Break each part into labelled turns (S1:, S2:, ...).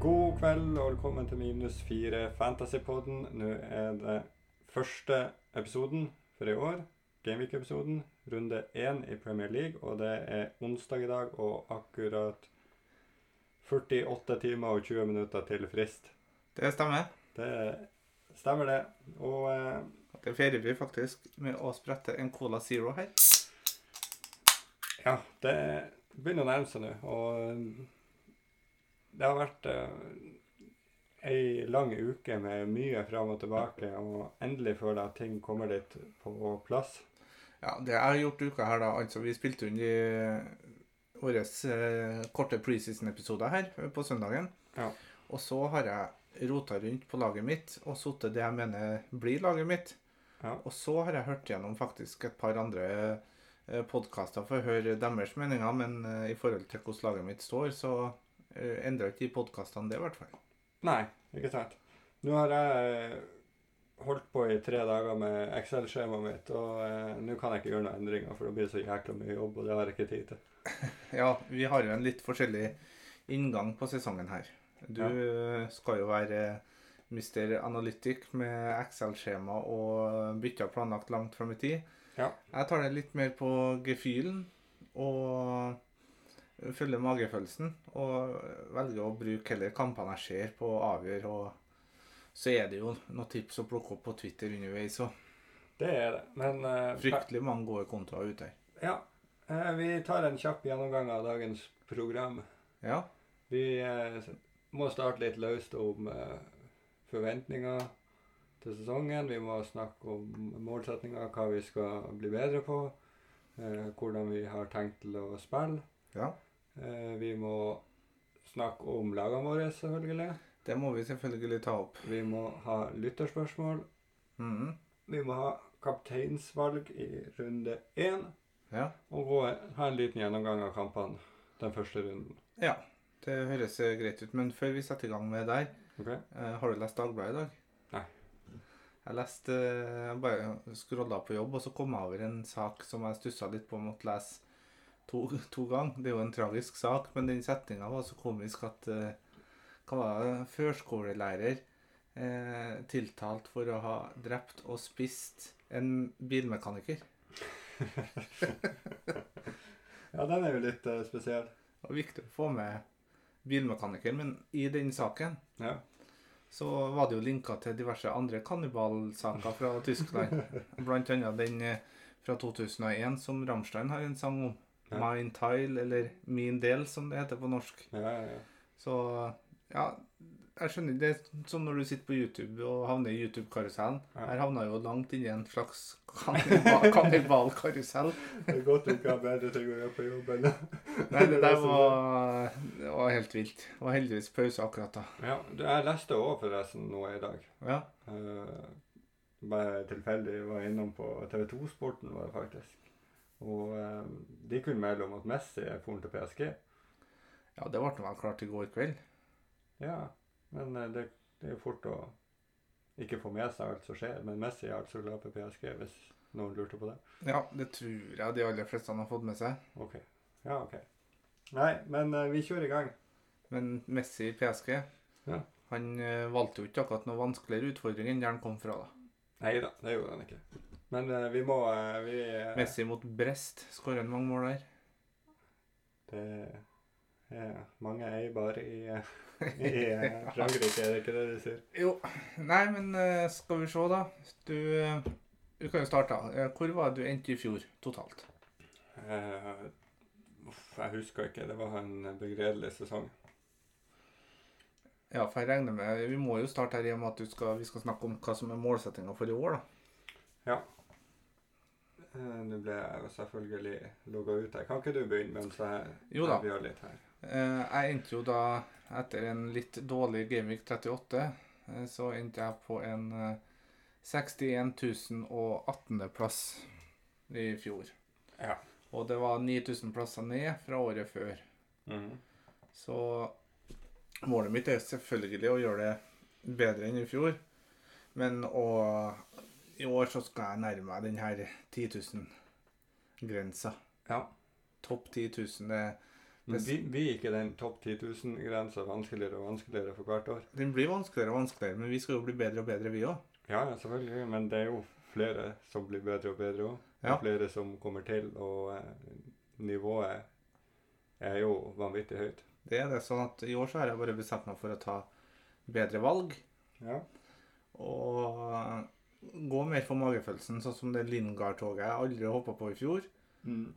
S1: kveld og velkommen til Minus 4 Fantasypodden. Nå er det første episoden for i år. Gameweek-episoden. Runde én i Premier League. Og det er onsdag i dag og akkurat 48 timer og 20 minutter til frist.
S2: Det stemmer.
S1: Det stemmer, det. Og eh,
S2: Det feirer vi faktisk med å sprette en Cola Zero her.
S1: Ja, det begynner å nærme seg nå, og um, det har vært eh, ei lang uke med mye fram og tilbake, og endelig føler jeg at ting kommer litt på plass.
S2: Ja, det jeg har gjort uka her, da. Altså, vi spilte inn i årets eh, korte preseason-episoder her eh, på søndagen.
S1: Ja.
S2: Og så har jeg rota rundt på laget mitt og sittet det jeg mener blir laget mitt.
S1: Ja.
S2: Og så har jeg hørt gjennom faktisk et par andre eh, podkaster for å høre deres meninger, men eh, i forhold til hvordan laget mitt står, så eh, endrer ikke de podkastene det, i hvert fall.
S1: Nei, ikke sant. Nå har jeg eh, holdt på i tre dager med Excel-skjemaet mitt, og eh, nå kan jeg ikke gjøre noen endringer, for det blir så jækla mye jobb, og det har jeg ikke tid til.
S2: Ja, vi har jo en litt forskjellig inngang på sesongen her. Du eh, skal jo være Mr. Analytic med Excel-skjema og bytter planlagt langt fram i tid.
S1: Ja.
S2: Jeg tar det litt mer på gefühlen og følger magefølelsen. Og velger å bruke heller kampene jeg ser på å avgjøre. Og så er det jo noen tips å plukke opp på Twitter underveis. Og
S1: Det er det, men eh,
S2: fryktelig mange gode kontoer ute her.
S1: Ja. eh, Vi tar en kjapp gjennomgang av dagens program.
S2: Ja,
S1: Vi eh, må starte litt løst om eh, forventninger til sesongen. Vi må snakke om målsetninger, hva vi skal bli bedre på. Eh, hvordan vi har tenkt til å spille.
S2: ja.
S1: Eh, vi må snakke om lagene våre, selvfølgelig.
S2: Det må vi selvfølgelig ta opp.
S1: Vi må ha lytterspørsmål.
S2: Mhm.
S1: Vi må ha kapteinsvalg i runde én.
S2: Ja.
S1: Og gå, ha en liten gjennomgang av kampene den første runden.
S2: Ja, det høres eh, greit ut. Men før vi setter i gang med der,
S1: Ok?
S2: eh, har du lest Dagbladet i dag?
S1: Nei.
S2: Jeg leste eh, Jeg bare scrolla på jobb, og så kom jeg over en sak som jeg stussa litt på og måtte lese to, to ganger. Det er jo en tragisk sak, men den setninga var så komisk at eh, Hva var det? Førskolelærer eh, tiltalt for å ha drept og spist en bilmekaniker.
S1: Ja, den er jo litt eh, spesiell.
S2: Det var viktig å få med bilmekaniker, men i den saken
S1: Ja.
S2: så var det jo linka til diverse andre kannibalsaker fra Tyskland. Blant annet den eh, fra 2001 som Rammstein har en sang om.
S1: Ja.
S2: Mein Tile, eller Min del, som det heter på norsk.
S1: Ja, ja, ja.
S2: Så ja, jeg skjønner Det er som når du sitter på YouTube og havner i YouTube-karusellen.
S1: Ja.
S2: Her havna jeg jo langt inni en slags kannibal- kannibalkarusell.
S1: Det er godt du ikke har bedre ting å gjøre på jobben.
S2: Nei, det der var, det var helt vilt. Det var heldigvis pause akkurat da.
S1: Ja, du, jeg leste òg forresten noe i dag.
S2: Ja.
S1: Eh, bare tilfeldig var jeg innom på TV2-sporten, var det faktisk. Og eh, de kunne melde om at Messi er foren til PSG.
S2: ja, det ble vel klart i går kveld.
S1: Ja, men eh, det, det er jo fort å ikke få med seg alt som skjer. Men Messi er altså glad for PSG, hvis noen lurte på det.
S2: Ja, det tror jeg de aller fleste har fått med seg.
S1: OK. Ja, OK. Nei, men eh, vi kjører i gang.
S2: Men Messi i PSG
S1: Ja.
S2: Han eh, valgte jo ikke akkurat noe vanskeligere utfordring enn der han kom fra. da.
S1: Nei da, det gjorde han ikke. Men eh, vi må eh, vi, eh,
S2: Messi mot Brest skårer han mange mål der.
S1: Det er mange eibar i, i eh, Frankrike, er det ikke det de sier?
S2: Jo, nei, men eh, skal vi se, da. Du, eh, du kan jo starte. da. Eh, Hvor var det du endte i fjor totalt?
S1: Eh, uff, jeg husker ikke. Det var en begredelig sesong.
S2: Ja, for jeg regner med Vi må jo starte her i og med at du skal, vi skal snakke om hva som er målsettinga for i år, da.
S1: Eh, Nå ble jeg jo selvfølgelig logga ut her. Kan ikke du begynne mens jeg
S2: Jo da.
S1: jeg gjør litt her?
S2: Eh, Jeg endte jo da, etter en litt dårlig Gameweek 38, eh, så endte jeg på en eh, 61 018. plass i fjor.
S1: Ja.
S2: Og det var 9000 plasser ned fra året før.
S1: Mhm.
S2: Så målet mitt er selvfølgelig å gjøre det bedre enn i fjor. Men å, i år så skal jeg nærme meg den her 10 000-grensa.
S1: Ja.
S2: Topp 10 000 det
S1: Men blir blir ikke den topp 10 000-grensa vanskeligere og vanskeligere for hvert år?
S2: Den blir vanskeligere og vanskeligere, men vi skal jo bli bedre og bedre, vi òg.
S1: Ja, ja, selvfølgelig, men det er jo flere som blir bedre og bedre òg.
S2: Ja.
S1: Flere som kommer til, og eh, nivået er jo vanvittig høyt.
S2: Det er det sånn at i år så har jeg bare bestemt meg for å ta bedre valg
S1: Ja.
S2: og gå mer for magefølelsen, sånn som det Lingard-toget jeg aldri hoppa på i fjor.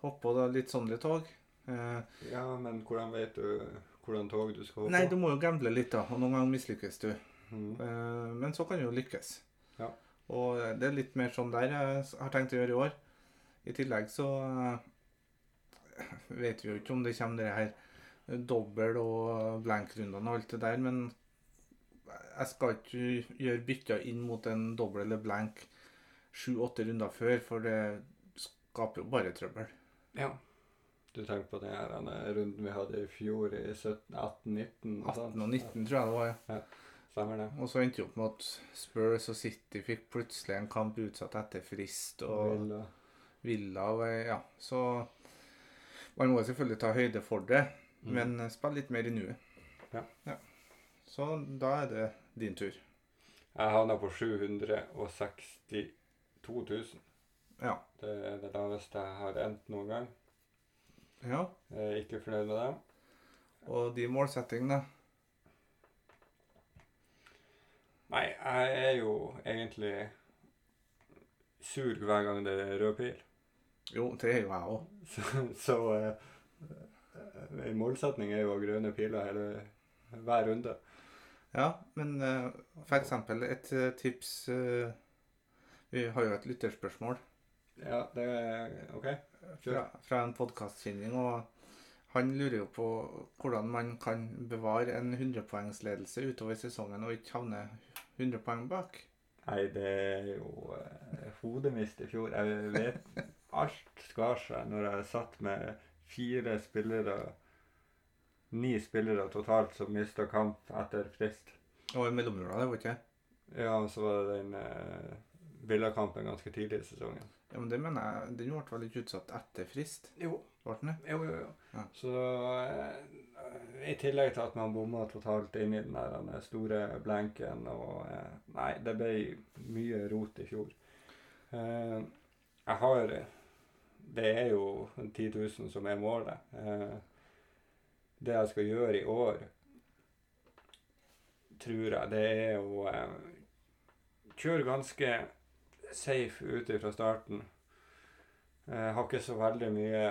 S2: Hoppa da litt sånne tog. Eh,
S1: ja, men hvordan vet du hvordan tog du skal gå
S2: nei, du
S1: på?
S2: må jo gamble litt, da, og noen ganger mislykkes du.
S1: Mm.
S2: Eh, men så kan du jo lykkes.
S1: Ja.
S2: Og det er litt mer sånn der jeg s- har tenkt å gjøre i år. I tillegg så eh, vet vi jo ikke om det kommer det her dobbel- og blank-rundene og alt det der, men jeg skal ikke gjøre bytter inn mot en dobbel eller blank sju-åtte runder før, for det skaper jo bare trøbbel.
S1: Ja. Du tenker på den her eh, runden vi hadde i fjor, i 17, 18-19?
S2: 18 og 19 tror jeg det var, ja.
S1: sånn. Stemmer det.
S2: Og så endte jo opp med at Spurs og City fikk plutselig en kamp utsatt etter frist. og...
S1: Vil, eh,
S2: Villa og eh, ja, så Man må jo selvfølgelig ta høyde for det,
S1: Mm.
S2: men spill litt mer i nuet.
S1: Ja.
S2: Så da er det din tur.
S1: Jeg havna på 762 000.
S2: Ja.
S1: Det er det laveste jeg har endt noen gang.
S2: ja.
S1: Jeg er ikke fornøyd med det.
S2: Og de målsettingene
S1: Nei, jeg er jo egentlig sur hver gang det er rød pil.
S2: Jo, det er jo jeg òg.
S1: Så, så eh, en målsetning er jo grønne piler hele, hver runde.
S2: Ja, men eh, for eksempel et eh, tips eh, Vi har jo et lytterspørsmål
S1: Ja, det er OK.
S2: fra, fra en podkastkjenning, og han lurer jo på hvordan man kan bevare en 100-poengsledelse utover sesongen og ikke havne 100 poeng bak.
S1: Nei, det er jo eh, hodemist i fjor. Jeg vet alt skar seg når jeg satt med fire spillere Ni spillere totalt som mista kamp etter frist.
S2: Og i mellomjula, det var ikke det?
S1: Ja, og så var det den eh, villakampen ganske tidlig i sesongen.
S2: Ja, men det mener jeg. Den ble vel ikke utsatt etter frist?
S1: Jo,
S2: Ble den det?
S1: jo, jo. jo.
S2: Ja.
S1: Så eh, i tillegg til at man bomma totalt inn i den der den store blenken og eh, Nei, det ble mye rot i fjor. Eh, jeg har Det er jo 10 000 som er målet. Eh, det jeg skal gjøre i år, tror jeg, det er å eh, kjøre ganske safe ute fra starten. Jeg Eh, har ikke så veldig mye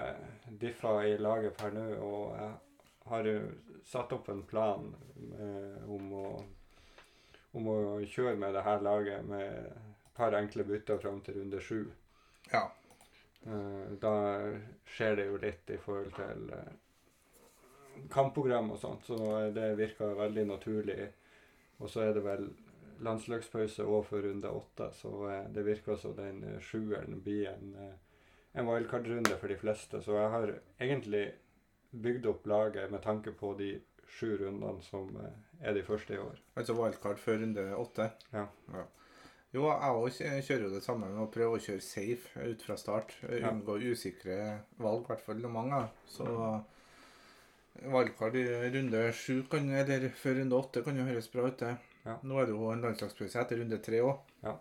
S1: diffa i laget per nå, og jeg har jo satt opp en plan eh, om, å, om å kjøre med det her laget med et par enkle bytter fram til runde sju.
S2: Ja.
S1: Eh, da skjer det jo litt i forhold til eh, kampprogram og sånt, så det virker veldig naturlig. Og så er det vel landslagspause òg for runde åtte, så eh, det virker som den eh, sjueren blir en, eh, en wildcard-runde for de fleste. Så jeg har egentlig bygd opp laget med tanke på de sju rundene som eh, er de første i år.
S2: Altså wildcard før runde åtte?
S1: Ja.
S2: Jo, jeg òg kjører jo det samme med å prøve å kjøre safe ut fra start.
S1: Ja.
S2: Unngå usikre valg, i hvert fall noen ganger. Så
S1: Mm.
S2: wildcard i runde sju kan, eller før runde åtte kan jo høres bra ut, det.
S1: Ja.
S2: Nå er det jo en landslagspause etter runde tre òg.
S1: Ja.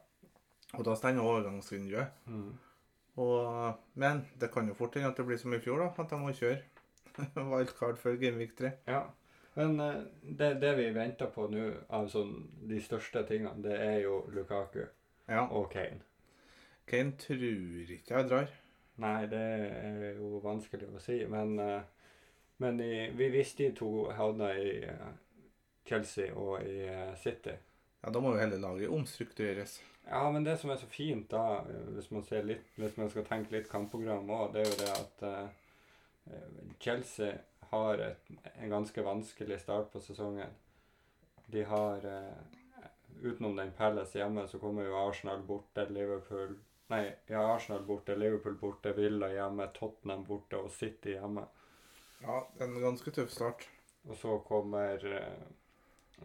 S2: Og da stenger overgangsvinduet.
S1: Mm.
S2: Og, men det kan jo fort hende at det blir som i fjor, da. At de må kjøre wildcard før Gameweek 3.
S1: Ja. Men eh, det, det vi venter på nå av sånn, de største tingene, det er jo Lukaku
S2: Ja.
S1: og Kane.
S2: Kane tror ikke jeg drar.
S1: Nei, det er jo vanskelig å si, men, eh, men i, vi, hvis de to havna i eh, Chelsea og i eh, City
S2: Ja, Da må jo hele laget omstruktureres.
S1: Ja, men det som er så fint da, eh, hvis man, ser litt, hvis man skal tenke litt kampprogram òg, det er jo det at eh, eh, Chelsea har et, en ganske vanskelig start på sesongen. De har eh, Utenom den Palace hjemme, så kommer jo Arsenal borte, Liverpool Nei, ja, Arsenal borte, Liverpool borte, Villa hjemme, Tottenham borte og City hjemme.
S2: Ja, en ganske tøff start.
S1: Og så kommer eh,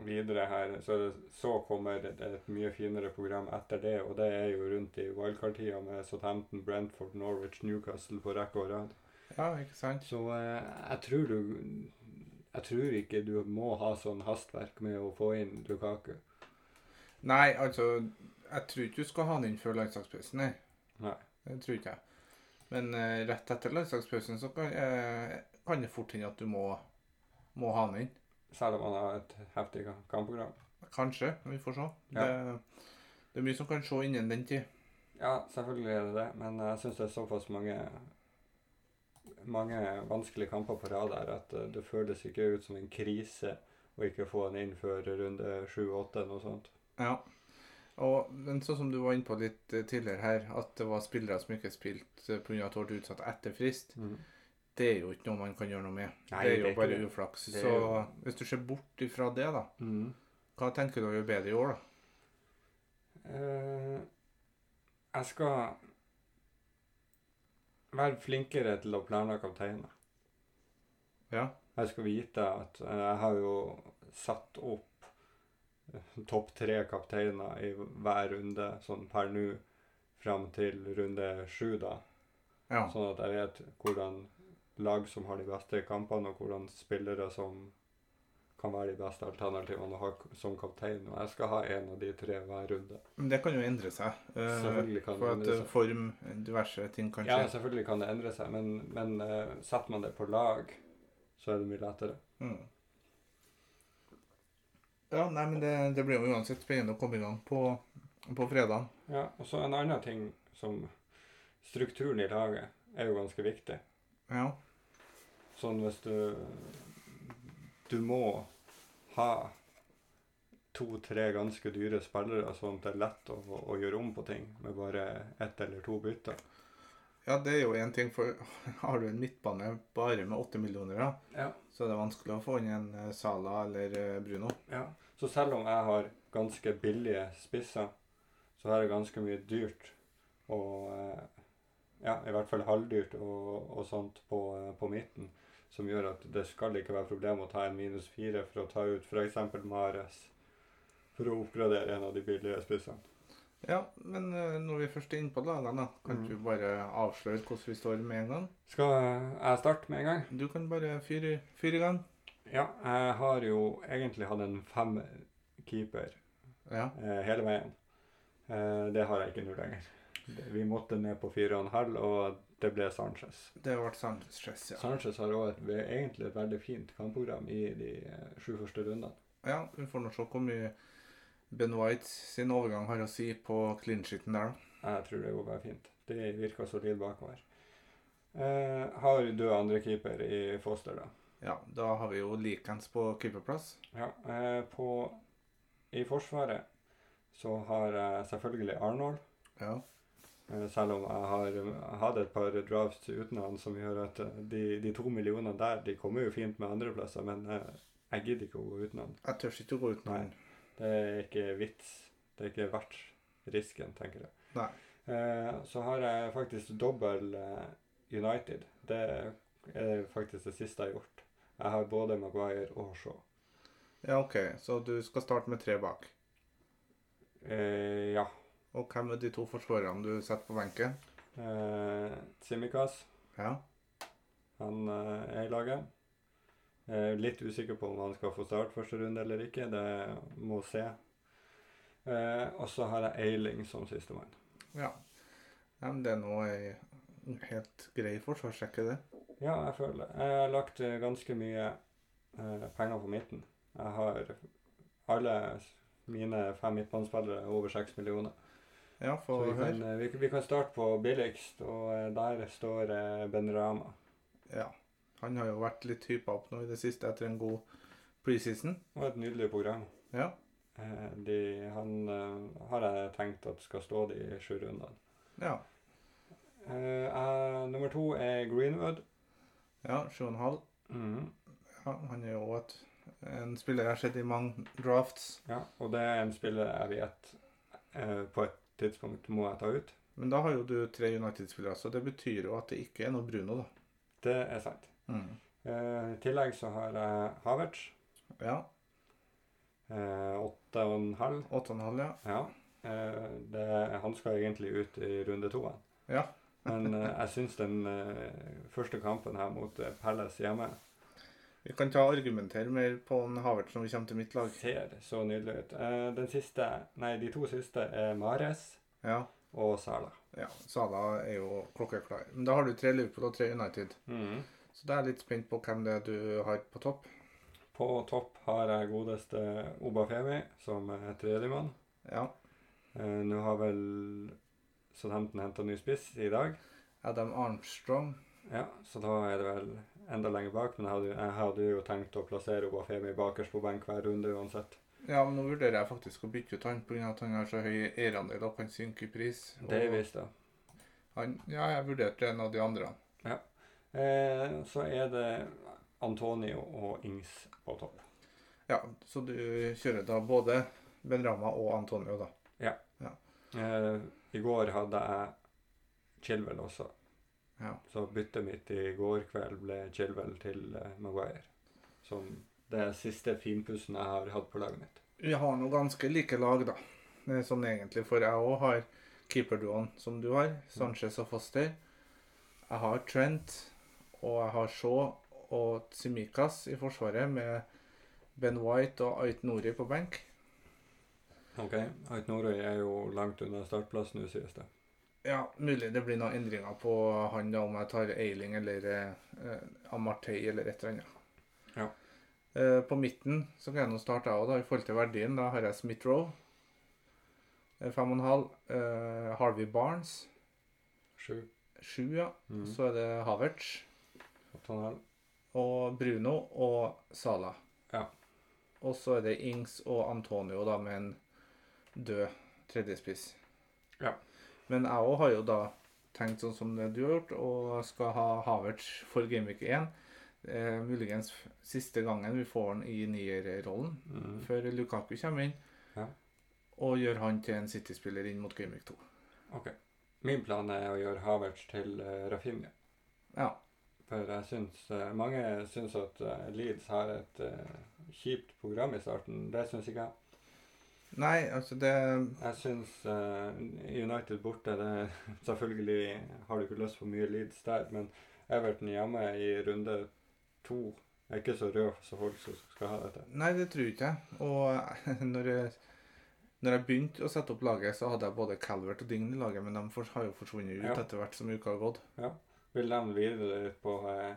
S1: videre her Så, er det- så kommer et, et mye finere program etter det, og det er jo rundt i wildcard-tida med Southampton, Brentford, Norwich, Newcastle på rekke og rad.
S2: Ja, ikke sant?
S1: Så eh, jeg tror du Jeg tror ikke du må ha sånn hastverk med å få inn Lukaku.
S2: Nei, altså, jeg tror ikke du skal ha den inn før landslagspausen, nei.
S1: Nei.
S2: Det tror ikke jeg. Men eh, rett etter landslagspausen så kan, eh, kan det fort hende at du må, må ha den inn.
S1: Selv om han har et heftig ka- kampprogram.
S2: Kanskje, vi får se.
S1: Ja.
S2: Det, det er mye som kan se innen den tid.
S1: Ja, selvfølgelig er det det, men jeg syns det er såpass mange mange vanskelige kamper på rad her at eh, det føles ikke ut som en krise å ikke få han inn før runde 7-8, noe sånt.
S2: Ja. Og, men sånn som du var inne på litt eh, tidligere her, at det var spillere som ikke spilte pga. at de ble utsatt etter frist, det er jo ikke noe man kan gjøre noe med.
S1: Nei,
S2: det er
S1: det
S2: jo
S1: er ikke
S2: bare
S1: det.
S2: uflaks.
S1: Det er
S2: Så
S1: jo-
S2: hvis du ser bort ifra det, da,
S1: Mm.
S2: hva tenker du å gjøre bedre i år, da?
S1: Eh, jeg skal være flinkere til å planlegge kapteiner.
S2: Ja.
S1: Jeg skal vite at eh, jeg har jo satt opp eh, topp tre kapteiner i hver runde sånn per nå fram til runde sju, da.
S2: Ja.
S1: Sånn at jeg vet hvordan lag som har de beste kampene, og hvordan spillere som kan være de beste alternativene å ha k- som kaptein. Og jeg skal ha én av de tre hver runde.
S2: Men det kan jo endre seg. eh,
S1: Selvfølgelig kan
S2: for
S1: det
S2: at
S1: endre
S2: eh,
S1: seg.
S2: form, diverse ting kan
S1: Ja, altså.
S2: skje.
S1: selvfølgelig kan det endre seg, men, men eh, setter man det på lag, så er det mye lettere.
S2: Mm. Ja, nei, men det, det blir jo uansett spennende å komme i gang på, på fredag.
S1: Ja, og så en annen ting som Strukturen i laget er jo ganske viktig.
S2: Ja.
S1: Sånn hvis du Du må ha to-tre ganske dyre spillere, sånn at det er lett å, å gjøre om på ting med bare ett eller to bytter.
S2: ja, det er jo én ting, for har du en midtbane bare med åtte millioner, da,
S1: Ja.
S2: så er det vanskelig å få inn en eh, Sala eller eh, Bruno.
S1: Ja. Så selv om jeg har ganske billige spisser, så har jeg ganske mye dyrt og eh, Ja, i hvert fall halvdyrt og, og sånt på, eh, på midten, som gjør at det skal ikke være problem å ta en minus fire for å ta ut f.eks. Mares for å oppgradere en av de billige spissene.
S2: Ja, men eh, når vi først er inne på lagene, da, kan
S1: Mm.
S2: du bare avsløre hvordan vi står med en gang?
S1: Skal jeg starte med en gang?
S2: Du kan bare fyre fyre i gang.
S1: Ja, jeg har jo egentlig hatt en fem-keeper
S2: Ja.
S1: eh, hele veien. Eh, det har jeg ikke nå lenger. Det- Vi måtte ned på fire og en halv, og det ble Sanchez.
S2: Det ble Sanchez, ja.
S1: Sanchez har også et, ve- egentlig et veldig fint kampprogram i de eh, sju første rundene.
S2: Ja, vi får nå se hvor mye Ben White sin overgang har å si på clean-sheeten der, da.
S1: Jeg tror det går bare fint. Det virker solid bakover. Eh, har du andre keeper i Foster, da?
S2: Ja, da har vi jo likens på keeperplass.
S1: Ja, eh, på, I Forsvaret så har jeg selvfølgelig Arnold.
S2: Ja.
S1: Eh, Selv om jeg har jeg hadde et par drafts uten han som gjør at eh, de, de to millionene der, de kommer jo fint med andreplasser, men eh, jeg gidder ikke å gå uten han.
S2: Jeg tør ikke å gå uten han.
S1: Det er ikke vits. Det er ikke verdt risken, tenker jeg.
S2: Nei.
S1: Eh, så har jeg faktisk dobbel eh, United. Det er faktisk det siste jeg har gjort. Jeg har både Maguire og Shaw.
S2: Ja, OK, så du skal starte med tre bak.
S1: Eh, ja.
S2: Og hvem er de to forsvarerne du setter på benken?
S1: Eh, Simikaz,
S2: Ja.
S1: han eh, er i laget. Eh, litt usikker på om han skal få start første runde eller ikke. Det må se. Eh, og så har jeg Eiling som sistemann.
S2: ja. Nei, men det er nå ei helt grei forsvarsrekke, det.
S1: Ja, jeg føler det. Jeg har lagt eh, ganske mye eh, penger på midten. Jeg har alle s- mine fem midtbanespillere er over seks millioner.
S2: Ja,
S1: Så
S2: få
S1: vi kan,
S2: høre.
S1: eh, vi, vi kan starte på billigst, og eh, der står eh, Ben Rama.
S2: Ja. Han har jo vært litt hypa opp nå i det siste etter en god preseason.
S1: Og et nydelig program.
S2: Ja.
S1: Eh, de, han eh, har jeg tenkt at skal stå de sju rundene.
S2: Ja.
S1: Eh, eh, nummer to er Greenwood.
S2: Ja, sju og en halv.
S1: Mhm.
S2: Ja, han er jo et, en spiller jeg har sett i mange drafts.
S1: Ja, og det er en spiller jeg vet eh, på et tidspunkt må jeg ta ut.
S2: Men da har jo du tre United-spillere, så det betyr jo at det ikke er noe Bruno, da.
S1: Det er sant. Eh, I tillegg så har jeg Havertz.
S2: Ja,
S1: eh, Åtte og en halv.
S2: åtte og en halv, ja.
S1: Ja. Eh, det, han skal egentlig ut i runde to. han.
S2: Ja.
S1: Men eh, jeg syns den eh, første kampen her mot eh, Palace hjemme
S2: Vi kan ta og argumentere mer på en Havertz når vi kommer til mitt lag.
S1: ser så nydelig ut. Eh, den siste, nei, de to siste er Mares
S2: Ja,
S1: og Sala.
S2: ja. Sala er jo klokkeklar. Men da har du tre Liverpool og tre United.
S1: Mhm.
S2: Så da er jeg litt spent på hvem det er du har på topp.
S1: På topp har jeg godeste Obafemi som eh, tredjemann.
S2: Ja.
S1: Eh, Nå har vel Southampton henta ny spiss i dag.
S2: Adam Armstrong.
S1: Ja, så da er det vel enda lenger bak. Men jeg hadde, jeg hadde jo tenkt å plassere Obafemi bakerst på benk hver runde uansett.
S2: Ja, men nå vurderer jeg faktisk å bytte ut han pga. at han har så høy eierandel og kan synke i pris. Og
S1: Davies, da.
S2: Han, ja, jeg vurderte en av de andre.
S1: Eh, så er det Antonio og Ings på topp.
S2: Ja, så du kjører da både Benrama og Antonio, da.
S1: Eh, I går hadde jeg Chilwell også.
S2: Ja.
S1: Så byttet mitt i går kveld ble Chilwell til eh, Maguire. Som det siste finpussen jeg har hatt på laget mitt.
S2: Vi har nå ganske like lag, da. Eh, Sånn egentlig, for jeg òg har keeperduoen som du har. Sanchez og Foster. Jeg har Trent, og jeg har Shaw og Tsimikas i forsvaret med Ben White og Ait Nori på benk.
S1: Ok, Ait Norøy er jo langt unna startplass nå, sies det.
S2: Ja, mulig det blir noen endringer på han da, om jeg tar Eiling eller eh, Amartey eller et eller annet.
S1: Ja.
S2: Eh, på midten så kan jeg nå starte jeg òg, da. I forhold til verdien, da har jeg Smith-Roe. eh, Fem og en halv. Eh, Harvey Barnes.
S1: Sju.
S2: Sju, ja.
S1: Mm.
S2: Så er det Havertz
S1: Åtte og en halv.
S2: og Bruno og Sala.
S1: Ja.
S2: Og så er det Ings og Antonio da med en død tredjespiss.
S1: Ja.
S2: Men jeg òg har jo da tenkt sånn som det du har gjort, og skal ha Havertz for Gameweek 1. Eh, muligens f- siste gangen vi får han i nierrollen,
S1: Mm.
S2: før Lukaku kommer inn.
S1: Ja.
S2: Og gjør han til en City-spiller inn mot Gameweek 2.
S1: Ok. Min plan er å gjøre Havertz til eh, Rafinha.
S2: Ja.
S1: For jeg syns eh, mange syns at eh, Leeds har et eh, kjipt program i starten. Det syns ikke jeg.
S2: Nei, altså det
S1: Jeg syns eh, United borte det, Selvfølgelig har du ikke lyst på mye Leeds der, men Everton hjemme i runde to er ikke så rød som folk som skal ha dette.
S2: Nei, det tror ikke jeg. Og når jeg, når jeg begynte å sette opp laget, så hadde jeg både Calvert og Dign i laget, men de for, har jo forsvunnet ut
S1: Ja.
S2: etter hvert som uka har gått.
S1: Vil nevne videre litt på eh,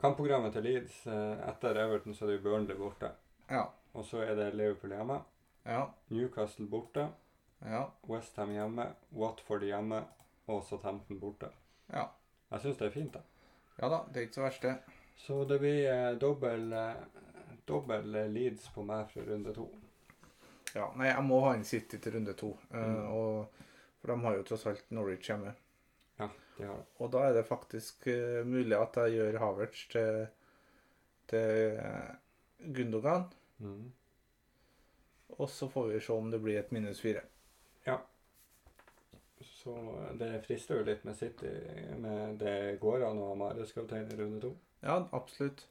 S1: kampprogrammet til Leeds. Eh, etter Everton så er det jo Burnley borte.
S2: Ja.
S1: Og så er det Liverpool hjemme,
S2: Ja.
S1: Newcastle borte,
S2: Ja.
S1: Westham hjemme, Watford hjemme og Southampton borte.
S2: Ja.
S1: Jeg syns det er fint, da.
S2: Ja da, det er ikke så verst, det.
S1: Så det blir eh, dobbel, eh, dobbel eh, Leeds på meg fra runde to.
S2: Ja, Nei, jeg må ha inn City til runde to. eh,
S1: Mm.
S2: og, for de har jo tross alt Norwich hjemme.
S1: De har det.
S2: Og da er det faktisk eh, mulig at jeg gjør Havertz til, til eh, Gundogan.
S1: Mm.
S2: Og så får vi se om det blir et minus fire.
S1: Så eh, det frister jo litt med City, men det går an å ha Marius kaptein i runde to.
S2: Ja, absolutt.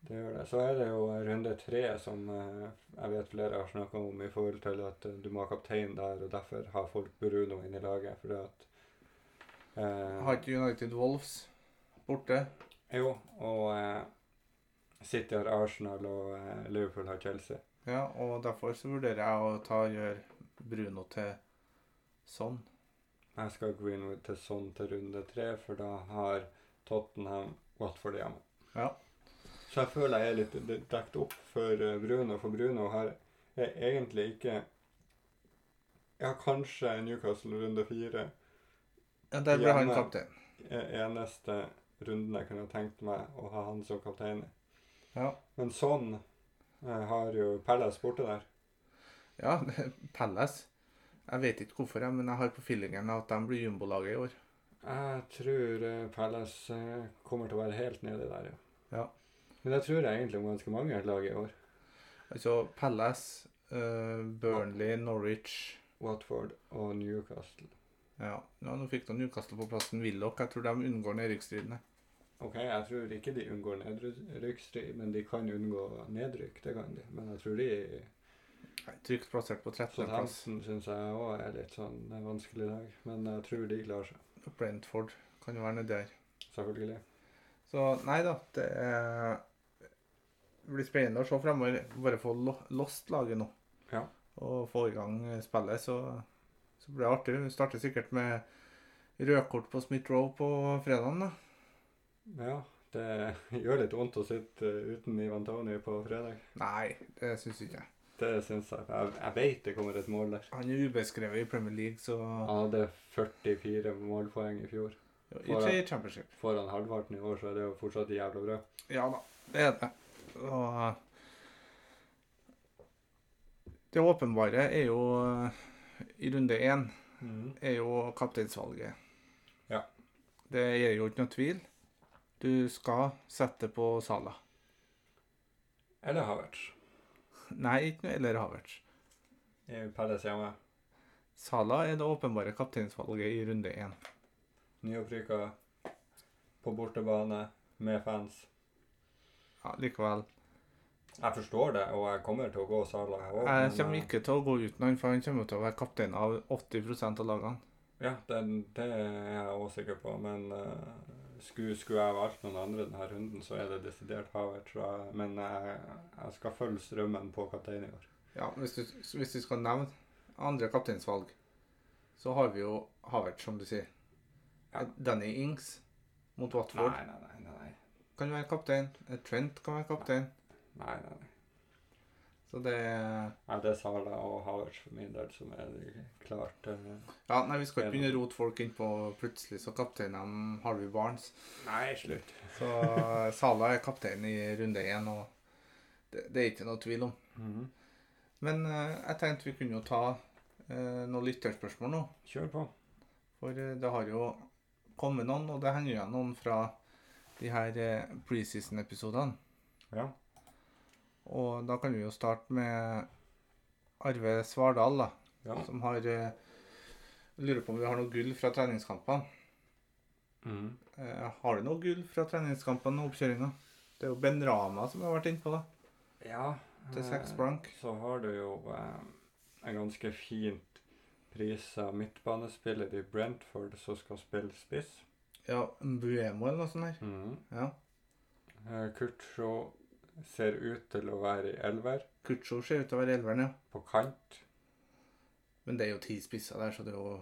S1: Det gjør det. Så er det jo runde tre som eh, jeg vet flere har snakka om i forhold til at eh, du må ha kaptein der, og derfor har folk Bruno inn i laget. Fordi at eh,
S2: Har ikke United Wolves borte?
S1: Jo, og eh, City har Arsenal, og eh, Liverpool har Chelsea.
S2: Ja, og derfor så vurderer jeg å ta og gjøre Bruno til sånn.
S1: Jeg skal Greenwood til sånn til runde tre, for da har Tottenham Watford hjemme.
S2: Ja.
S1: Så jeg føler jeg er litt de- dekt opp for eh, Bruno, for Bruno har er egentlig ikke Ja, kanskje Newcastle runde fire
S2: Ja, Der ble han
S1: Gjerne.
S2: kaptein.
S1: er eneste runden jeg kunne tenkt meg å ha han som kaptein i.
S2: Ja.
S1: Men sånn eh, har jo Palace borte der.
S2: Ja, Palace. Jeg vet ikke hvorfor, jeg, men jeg har på feelingen at de blir jumbolaget i år.
S1: Jeg tror eh, Palace eh, kommer til å være helt nede der, ja.
S2: Ja.
S1: Men det tror jeg egentlig om ganske mange lag i år.
S2: Altså Palace, eh, Burnley, Norwich
S1: Watford og Newcastle.
S2: Ja, ja nå fikk de Newcastle på plassen. Willoch. Jeg tror de unngår nedrykksstridene.
S1: Ok, jeg tror ikke de unngår nedrykksstrid, men de kan unngå nedrykk, det kan de. Men jeg tror de
S2: Nei, Trygt plassert på 13.-plass.
S1: Southampton syns jeg òg er litt sånn vanskelig lag, men jeg tror de klarer seg.
S2: Brentford kan jo være nedi der.
S1: Selvfølgelig.
S2: Så nei da, det er, blir spennende å se fremover. Bare få lo- lost laget nå.
S1: Ja.
S2: Og få i gang spillet, så, så blir det artig. Vi starter sikkert med rødkort på Smith Row på fredagen, da.
S1: Ja, det gjør litt vondt å sitte eh, uten Ivan Tony på fredag.
S2: Nei, det syns ikke jeg.
S1: Det syns jeg. Jeg, jeg vet det kommer et mål der.
S2: Han er ubeskrevet i Premier League, så
S1: Han hadde 44 målpoeng i fjor.
S2: Ikke i Championship.
S1: Foran halvparten i år, så er det jo fortsatt jævla bra.
S2: Ja da, det er det. Og det åpenbare er jo eh, i runde én
S1: Mm.
S2: er jo kapteinsvalget.
S1: Ja.
S2: Det er jo ikke noe tvil. Du skal sette på Salah.
S1: Eller Havertz.
S2: Nei, ikke noe eller Havertz.
S1: I Palace hjemme.
S2: Salah er det åpenbare kapteinsvalget i runde én.
S1: Nyopprykka på bortebane med fans.
S2: Ja, likevel.
S1: Jeg forstår det, og jeg kommer til å gå Salah òg.
S2: Jeg kommer ikke til å gå uten han, for han kommer til å være kaptein av 80 av lagene.
S1: Ja, det, det er jeg òg sikker på, men eh, skulle, skulle jeg valgt noen andre denne runden, så er det desidert Havertz. tror jeg. Men jeg, jeg skal følge strømmen på kaptein i år.
S2: Ja, hvis du, hvis du skal nevne andre kapteinsvalg, så har vi jo Havertz, som du sier.
S1: Ja.
S2: Danny Ings mot
S1: Nei,
S2: Watford
S1: nei, nei. nei, nei.
S2: kan være kaptein. Trent kan være kaptein.
S1: nei, nei, nei.
S2: Så det
S1: Nei, det er Salah og Havertz for min del som er det klart eh,
S2: Ja, nei, vi skal ikke begynne å rote folk innpå plutselig, så kapteinene Harvey Barnes.
S1: Nei, slutt.
S2: Så Salah er kaptein i runde én, og det, det er ikke noe tvil om.
S1: Mhm.
S2: Men eh, jeg tenkte vi kunne jo ta eh, noen lytterspørsmål nå.
S1: Kjør på.
S2: For eh, det har jo kommet noen, og det henger igjen noen fra de her eh, preseason-episodene.
S1: Ja.
S2: Og da kan vi jo starte med Arve Svardal, da,
S1: ja.
S2: som har eh, Lurer på om vi har noe gull fra treningskampene.
S1: Mhm.
S2: Eh, har du noe gull fra treningskampene og oppkjøringa? Det er jo Ben Rama som har vært innpå, da.
S1: Ja.
S2: Til seks
S1: eh,
S2: blank.
S1: Så har du jo eh, en ganske fint prisa midtbanespiller i Brentford som skal spille spiss.
S2: Ja, Buemo eller noe sånt der. Ja.
S1: Eh, Kurt Shaw ser ut til å være i elver,
S2: Kutcho ser ut til å være elveren, ja.
S1: på kant.
S2: Men det er jo ti spisser der, så det er jo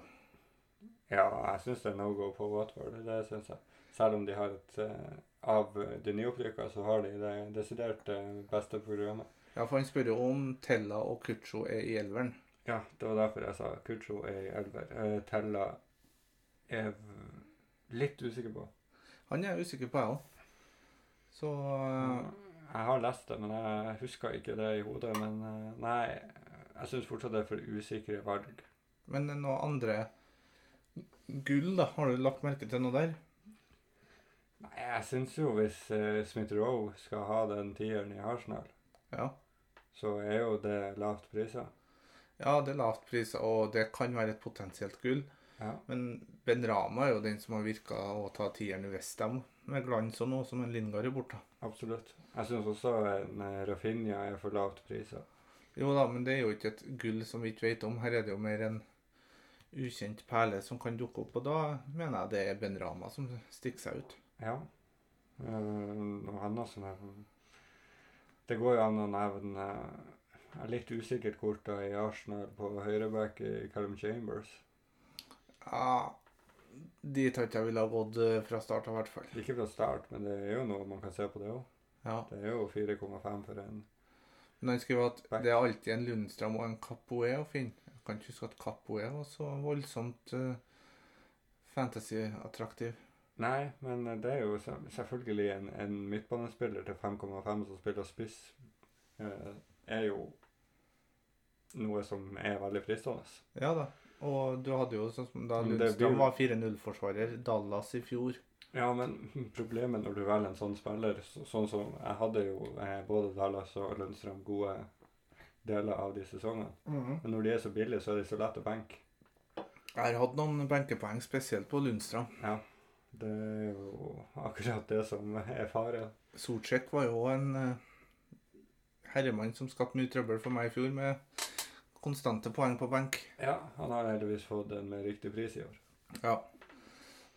S1: Ja, jeg syns det er no go på Watford, det syns jeg. Selv om de har et eh, Av de nyopprykka, så har de det desidert eh, beste programmet.
S2: Ja, for han spør jo om Tella og Kutcho er i elveren.
S1: Ja, det var derfor jeg sa Kutcho er i elver. Eh, Tella er v- litt usikker på.
S2: Han er jeg usikker på, jeg òg. Så eh,
S1: Jeg har lest det, men jeg husker ikke det i hodet. Men eh, nei, jeg syns fortsatt det er for usikre valg.
S2: Men noe andre gull, da? Har du lagt merke til noe der?
S1: Nei, jeg syns jo hvis eh, Smith Rowe skal ha den tieren i Arsenal,
S2: Ja.
S1: så er jo det lavt priser.
S2: ja, det er lavt pris, og det kan være et potensielt gull.
S1: Ja.
S2: Men Ben Rama er jo den som har virka å ta tieren i Westham med glans og noe som en Lingard er borte.
S1: Absolutt. Jeg syns også en eh, Rafinha er for lavt priser.
S2: Jo da, men det er jo ikke et gull som vi ikke vet om. Her er det jo mer en ukjent perle som kan dukke opp, og da mener jeg det er Ben Rama som stikker seg ut.
S1: Ja. Eh, Noe annet som er Det går jo an å nevne eh, litt usikkert korta i Arsenal på høyreback i Callum Chambers.
S2: Ja, dit har ikke jeg ville ha gått eh, fra start av, i hvert fall.
S1: Ikke fra start, men det er jo noe man kan se på det òg.
S2: Ja.
S1: Det er jo 4,5 for en
S2: Men han skriver at
S1: Nei.
S2: det er alltid en Lundstrøm og en Capoe å finne. Jeg kan ikke huske at Capoe var så voldsomt eh, fantasy-attraktiv.
S1: Nei, men det er jo se- selvfølgelig en, en midtbanespiller til 5,5 som spiller spiss. eh, Er jo noe som er veldig fristende.
S2: Ja da. Og du hadde jo sånn som da
S1: Men det blir
S2: Lundstrøm
S1: jo-
S2: var 4-0-forsvarer, Dallas i fjor.
S1: Ja, men problemet når du velger en sånn spiller, så, sånn som jeg hadde jo eh, både Dallas og Lundstrøm gode deler av de sesongene. Men når de er så billige, så er de så lette å benke.
S2: Jeg har hatt noen benkepoeng, spesielt på Lundstrøm.
S1: Det er jo akkurat det som er faren.
S2: Sortsjek var jo en eh, herremann som skapte mye trøbbel for meg i fjor, med konstante poeng på benk.
S1: Ja, han har heldigvis fått den med riktig pris i år.
S2: Ja.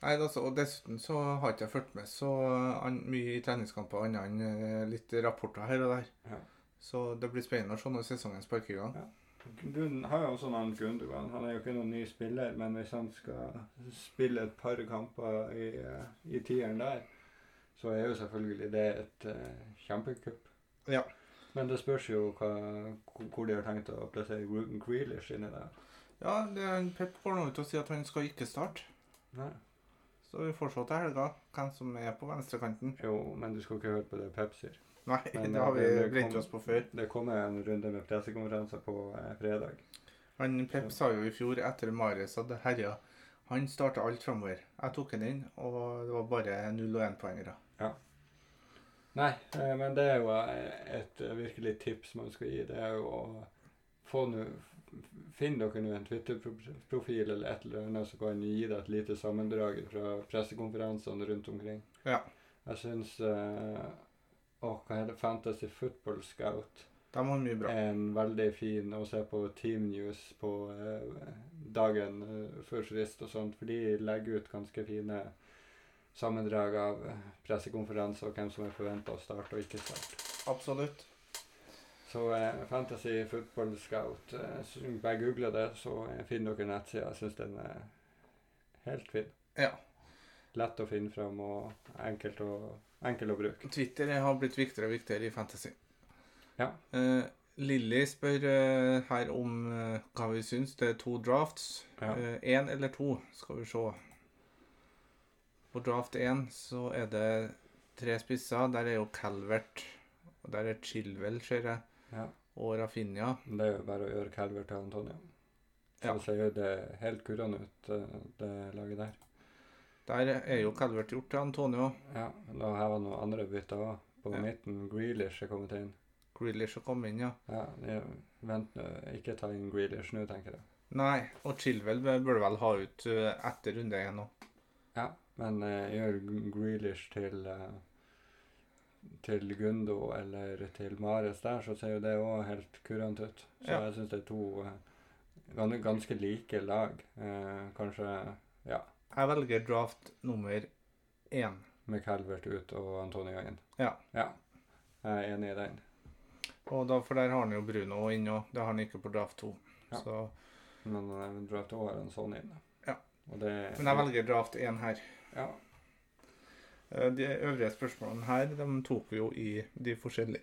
S2: Nei, altså, og Dessuten så har ikke jeg fulgt med så an, mye i treningskamper annet enn eh, litt rapporter her og der.
S1: Ja.
S2: Så det blir spennende å se når sesongen sparker i gang.
S1: Gunn har jo også en sånn annen Gundogan. Han er jo ikke noen ny spiller, men hvis han skal spille et par kamper i, eh, i tieren der, så er jo selvfølgelig det et eh, kjempekupp.
S2: Ja.
S1: Men det spørs jo hva, hvor de har tenkt å plassere Ruben Grealish inni der.
S2: Ja, det, Pep går nå ut og sier at han skal ikke starte.
S1: Nei.
S2: Så vi får se til helga hvem som er på venstrekanten.
S1: Jo, men du skal ikke høre på det Pep sier.
S2: Nei,
S1: Men,
S2: det har vi
S1: eh, det
S2: brent
S1: kom-
S2: oss på før.
S1: Det kommer en runde med pressekonferanser på eh, fredag.
S2: Han Pep sa jo i fjor, etter Marius hadde herja, han starta alt framover. Jeg tok han inn, og det var bare 0 og 1-poengere.
S1: Nei, eh, men det er jo eh, et eh, virkelig tips man skal gi. Det er jo å få nå Finn dere nå en Twitter-profil eller et eller annet som kan gi deg et lite sammendrag fra pressekonferansene rundt omkring.
S2: Ja.
S1: Jeg syns eh, Å, hva heter det? Fantasy Football Scout
S2: De har mye bra.
S1: er en veldig fin å se på Team News på eh, dagen eh, før frist og sånt, for de legger ut ganske fine sammendrag av eh, pressekonferanser og hvem som er forventa å starte og ikke starte.
S2: Absolutt.
S1: Så eh, Fantasy Football Scout, eh, så bare google det, så eh, finner dere nettsida. Jeg syns den er helt fin.
S2: Ja.
S1: Lett å finne fram og enkelt å, enkel å bruke.
S2: Twitter har blitt viktigere og viktigere i fantasy.
S1: Ja.
S2: Eh, Lilly spør eh, her om eh, hva vi syns. Det er to drafts.
S1: Ja.
S2: Én Eh, eller to, skal vi se. På draft én så er det tre spisser. Der er jo Calvert. Og der er Chilwell, ser jeg.
S1: Ja.
S2: Og Rafinha.
S1: Det er jo bare å gjøre Calvert til Antonio. Så
S2: Ja.
S1: ser jo det helt kurrende ut, eh, det laget der.
S2: Der er jo Calvert gjort til Antonio.
S1: Ja, Da har jeg noen andre bytter òg. På
S2: Ja.
S1: midten Grealish er kommet inn.
S2: Grealish har kommet inn, ja.
S1: Ja, jeg, Vent nå, ikke ta inn Grealish nå, tenker jeg.
S2: Nei, og Chilwell bør vel ha ut eh, etter runde én nå.
S1: Ja, men eh, gjør Grealish til eh, til Gundo eller til Mares der, så ser jo det òg helt kurant ut. Så
S2: Ja.
S1: jeg syns det er to eh, gan- ganske like lag. Eh, kanskje
S2: Jeg velger draft nummer én.
S1: med Calvert ut og Antonio inn.
S2: Ja.
S1: Jeg er enig i den.
S2: Og da, for der har han jo Bruno inn òg. Det har han ikke på draft 2.
S1: Ja.
S2: Så,
S1: Men eh, draft òg har en sånn inne.
S2: Ja.
S1: Og det
S2: men jeg velger draft 1 her.
S1: Ja.
S2: Eh, De øvrige spørsmålene her de tok vi jo i de forskjellige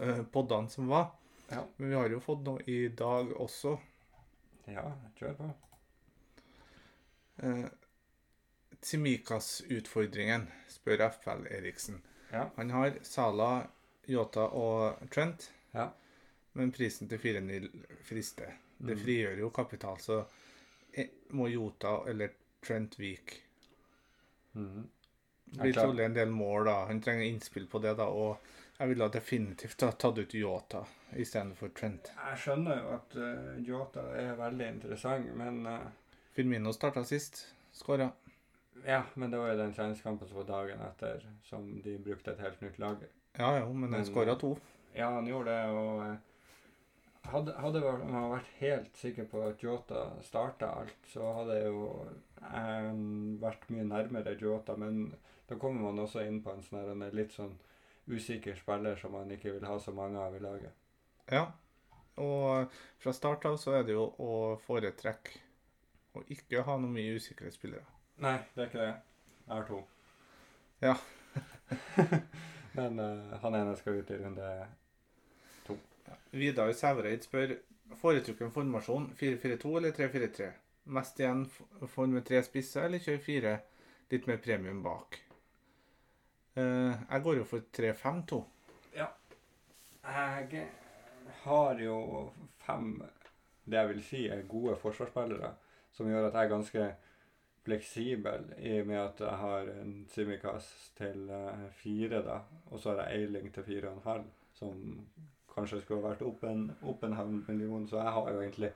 S2: eh, poddene som var.
S1: Ja.
S2: Men vi har jo fått noe i dag også.
S1: ja, kjør på.
S2: Eh, Tsimikas-utfordringen, spør FL Eriksen.
S1: Ja.
S2: Han har Sala, Yota og Trent,
S1: Ja.
S2: men prisen til 4-0 frister. Det
S1: Mm.
S2: frigjør jo kapital, så eh, må Yota eller Trent vike.
S1: Mhm.
S2: Det
S1: Ja,
S2: blir
S1: klart.
S2: trolig en del mål, da. Han trenger innspill på det, da. Og jeg ville definitivt ha tatt ut Yota istedenfor Trent.
S1: Jeg skjønner jo at eh, Jota er veldig interessant, men eh,
S2: Firmino starta sist, skåra.
S1: Ja, men det var jo den treningskampen som var dagen etter, som de brukte et helt nytt lag.
S2: Ja jo, men
S1: Men-
S2: han skåra to.
S1: Ja, han gjorde det, og eh, hadde, hadde vel- man vært helt sikker på at Jota starta alt, så hadde jeg jo eh, vært mye nærmere Jota, men da kommer man også inn på en sånn her, en litt sånn usikker spiller som man ikke vil ha så mange av i laget.
S2: Ja. Og fra start av så er det jo å foretrekke å ikke ha noe mye usikre spillere.
S1: Nei, det er ikke det. Jeg har to.
S2: Ja.
S1: men eh, han ene skal ut i runde
S2: Vidar Sævreid spør foretrukken formasjon 4-4-2 eller 3-4-3? Mest igjen f- for med tre spisser, eller kjør fire litt mer premium bak? Eh, jeg går jo for 3-5-2.
S1: Jeg har jo fem det jeg vil si er gode forsvarsspillere, som gjør at jeg er ganske fleksibel i og med at jeg har en Simikaz til eh, fire, da, og så har jeg Eiling til fire og en halv, som kanskje skulle vært opp en, opp en halv million, så jeg har jo egentlig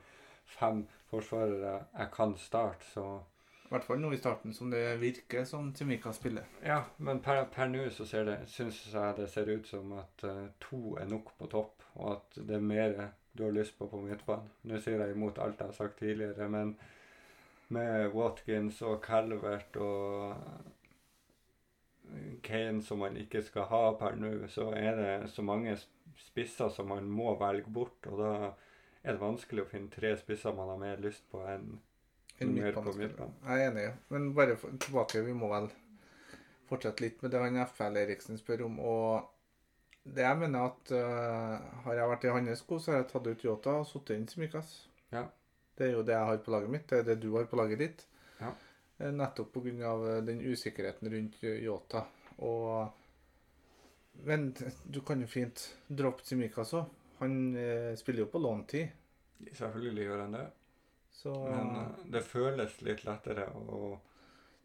S1: fem forsvarere jeg kan starte, så
S2: I hvert fall nå i starten, som det virker som Timika spiller.
S1: Ja, men per, per nå så ser det, syns jeg det ser ut som at eh, to er nok på topp, og at det er mer du har lyst på på midtbanen. Nå sier jeg imot alt jeg har sagt tidligere, men Med Watkins og Calvert og Kane som man ikke skal ha per nå, så er det så mange sp- spisser som man må velge bort. Og da er det vanskelig å finne tre spisser man har mer lyst på enn
S2: En
S1: Mer på
S2: midtbanespiller.
S1: midtbanen.
S2: Jeg er enig, ja. men bare for, tilbake, vi må vel fortsette litt med det han FL Eriksen spør om. Og det jeg mener at øh, har jeg vært i hans sko, så har jeg tatt ut Yota og satt inn Simikas.
S1: Ja.
S2: Det er jo det jeg har på laget mitt, det er det du har på laget ditt.
S1: Ja.
S2: Eh, Nettopp pga. eh, den usikkerheten rundt Yota. Og Men du kan jo fint droppe Simikas òg. Han eh, spiller jo på låntid,
S1: Selvfølgelig gjør han det,
S2: så
S1: men eh, det føles litt lettere å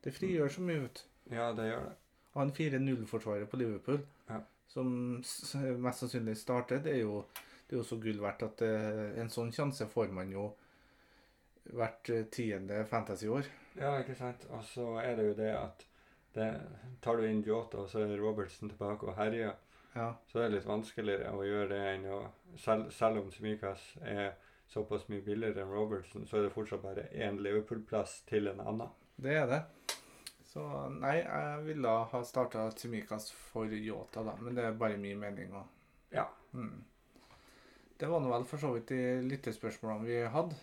S2: det frigjør så mye, vet du.
S1: Ja, det gjør det.
S2: Og han 4-0-forsvarer på Liverpool,
S1: Ja.
S2: som s- mest sannsynlig starter, det er jo, det er jo så gull verdt at eh, en sånn sjanse får man jo hvert eh, tiende fantasy-år.
S1: Ja, ikke sant. Og så er det jo det at det, tar du inn Jota, og så er Robertsen tilbake og herjer,
S2: Ja.
S1: så er det litt vanskeligere å gjøre det enn å Selv, selv om Smikas er såpass mye billigere enn Robertsen, så er det fortsatt bare én Liverpool-plass til en annen.
S2: Det er det. Så nei, jeg ville ha starta Tsimikas for Yota, da, men det er bare min mening. Og.
S1: Ja.
S2: Mm. Det var nå vel for så vidt de lyttespørsmålene vi hadde.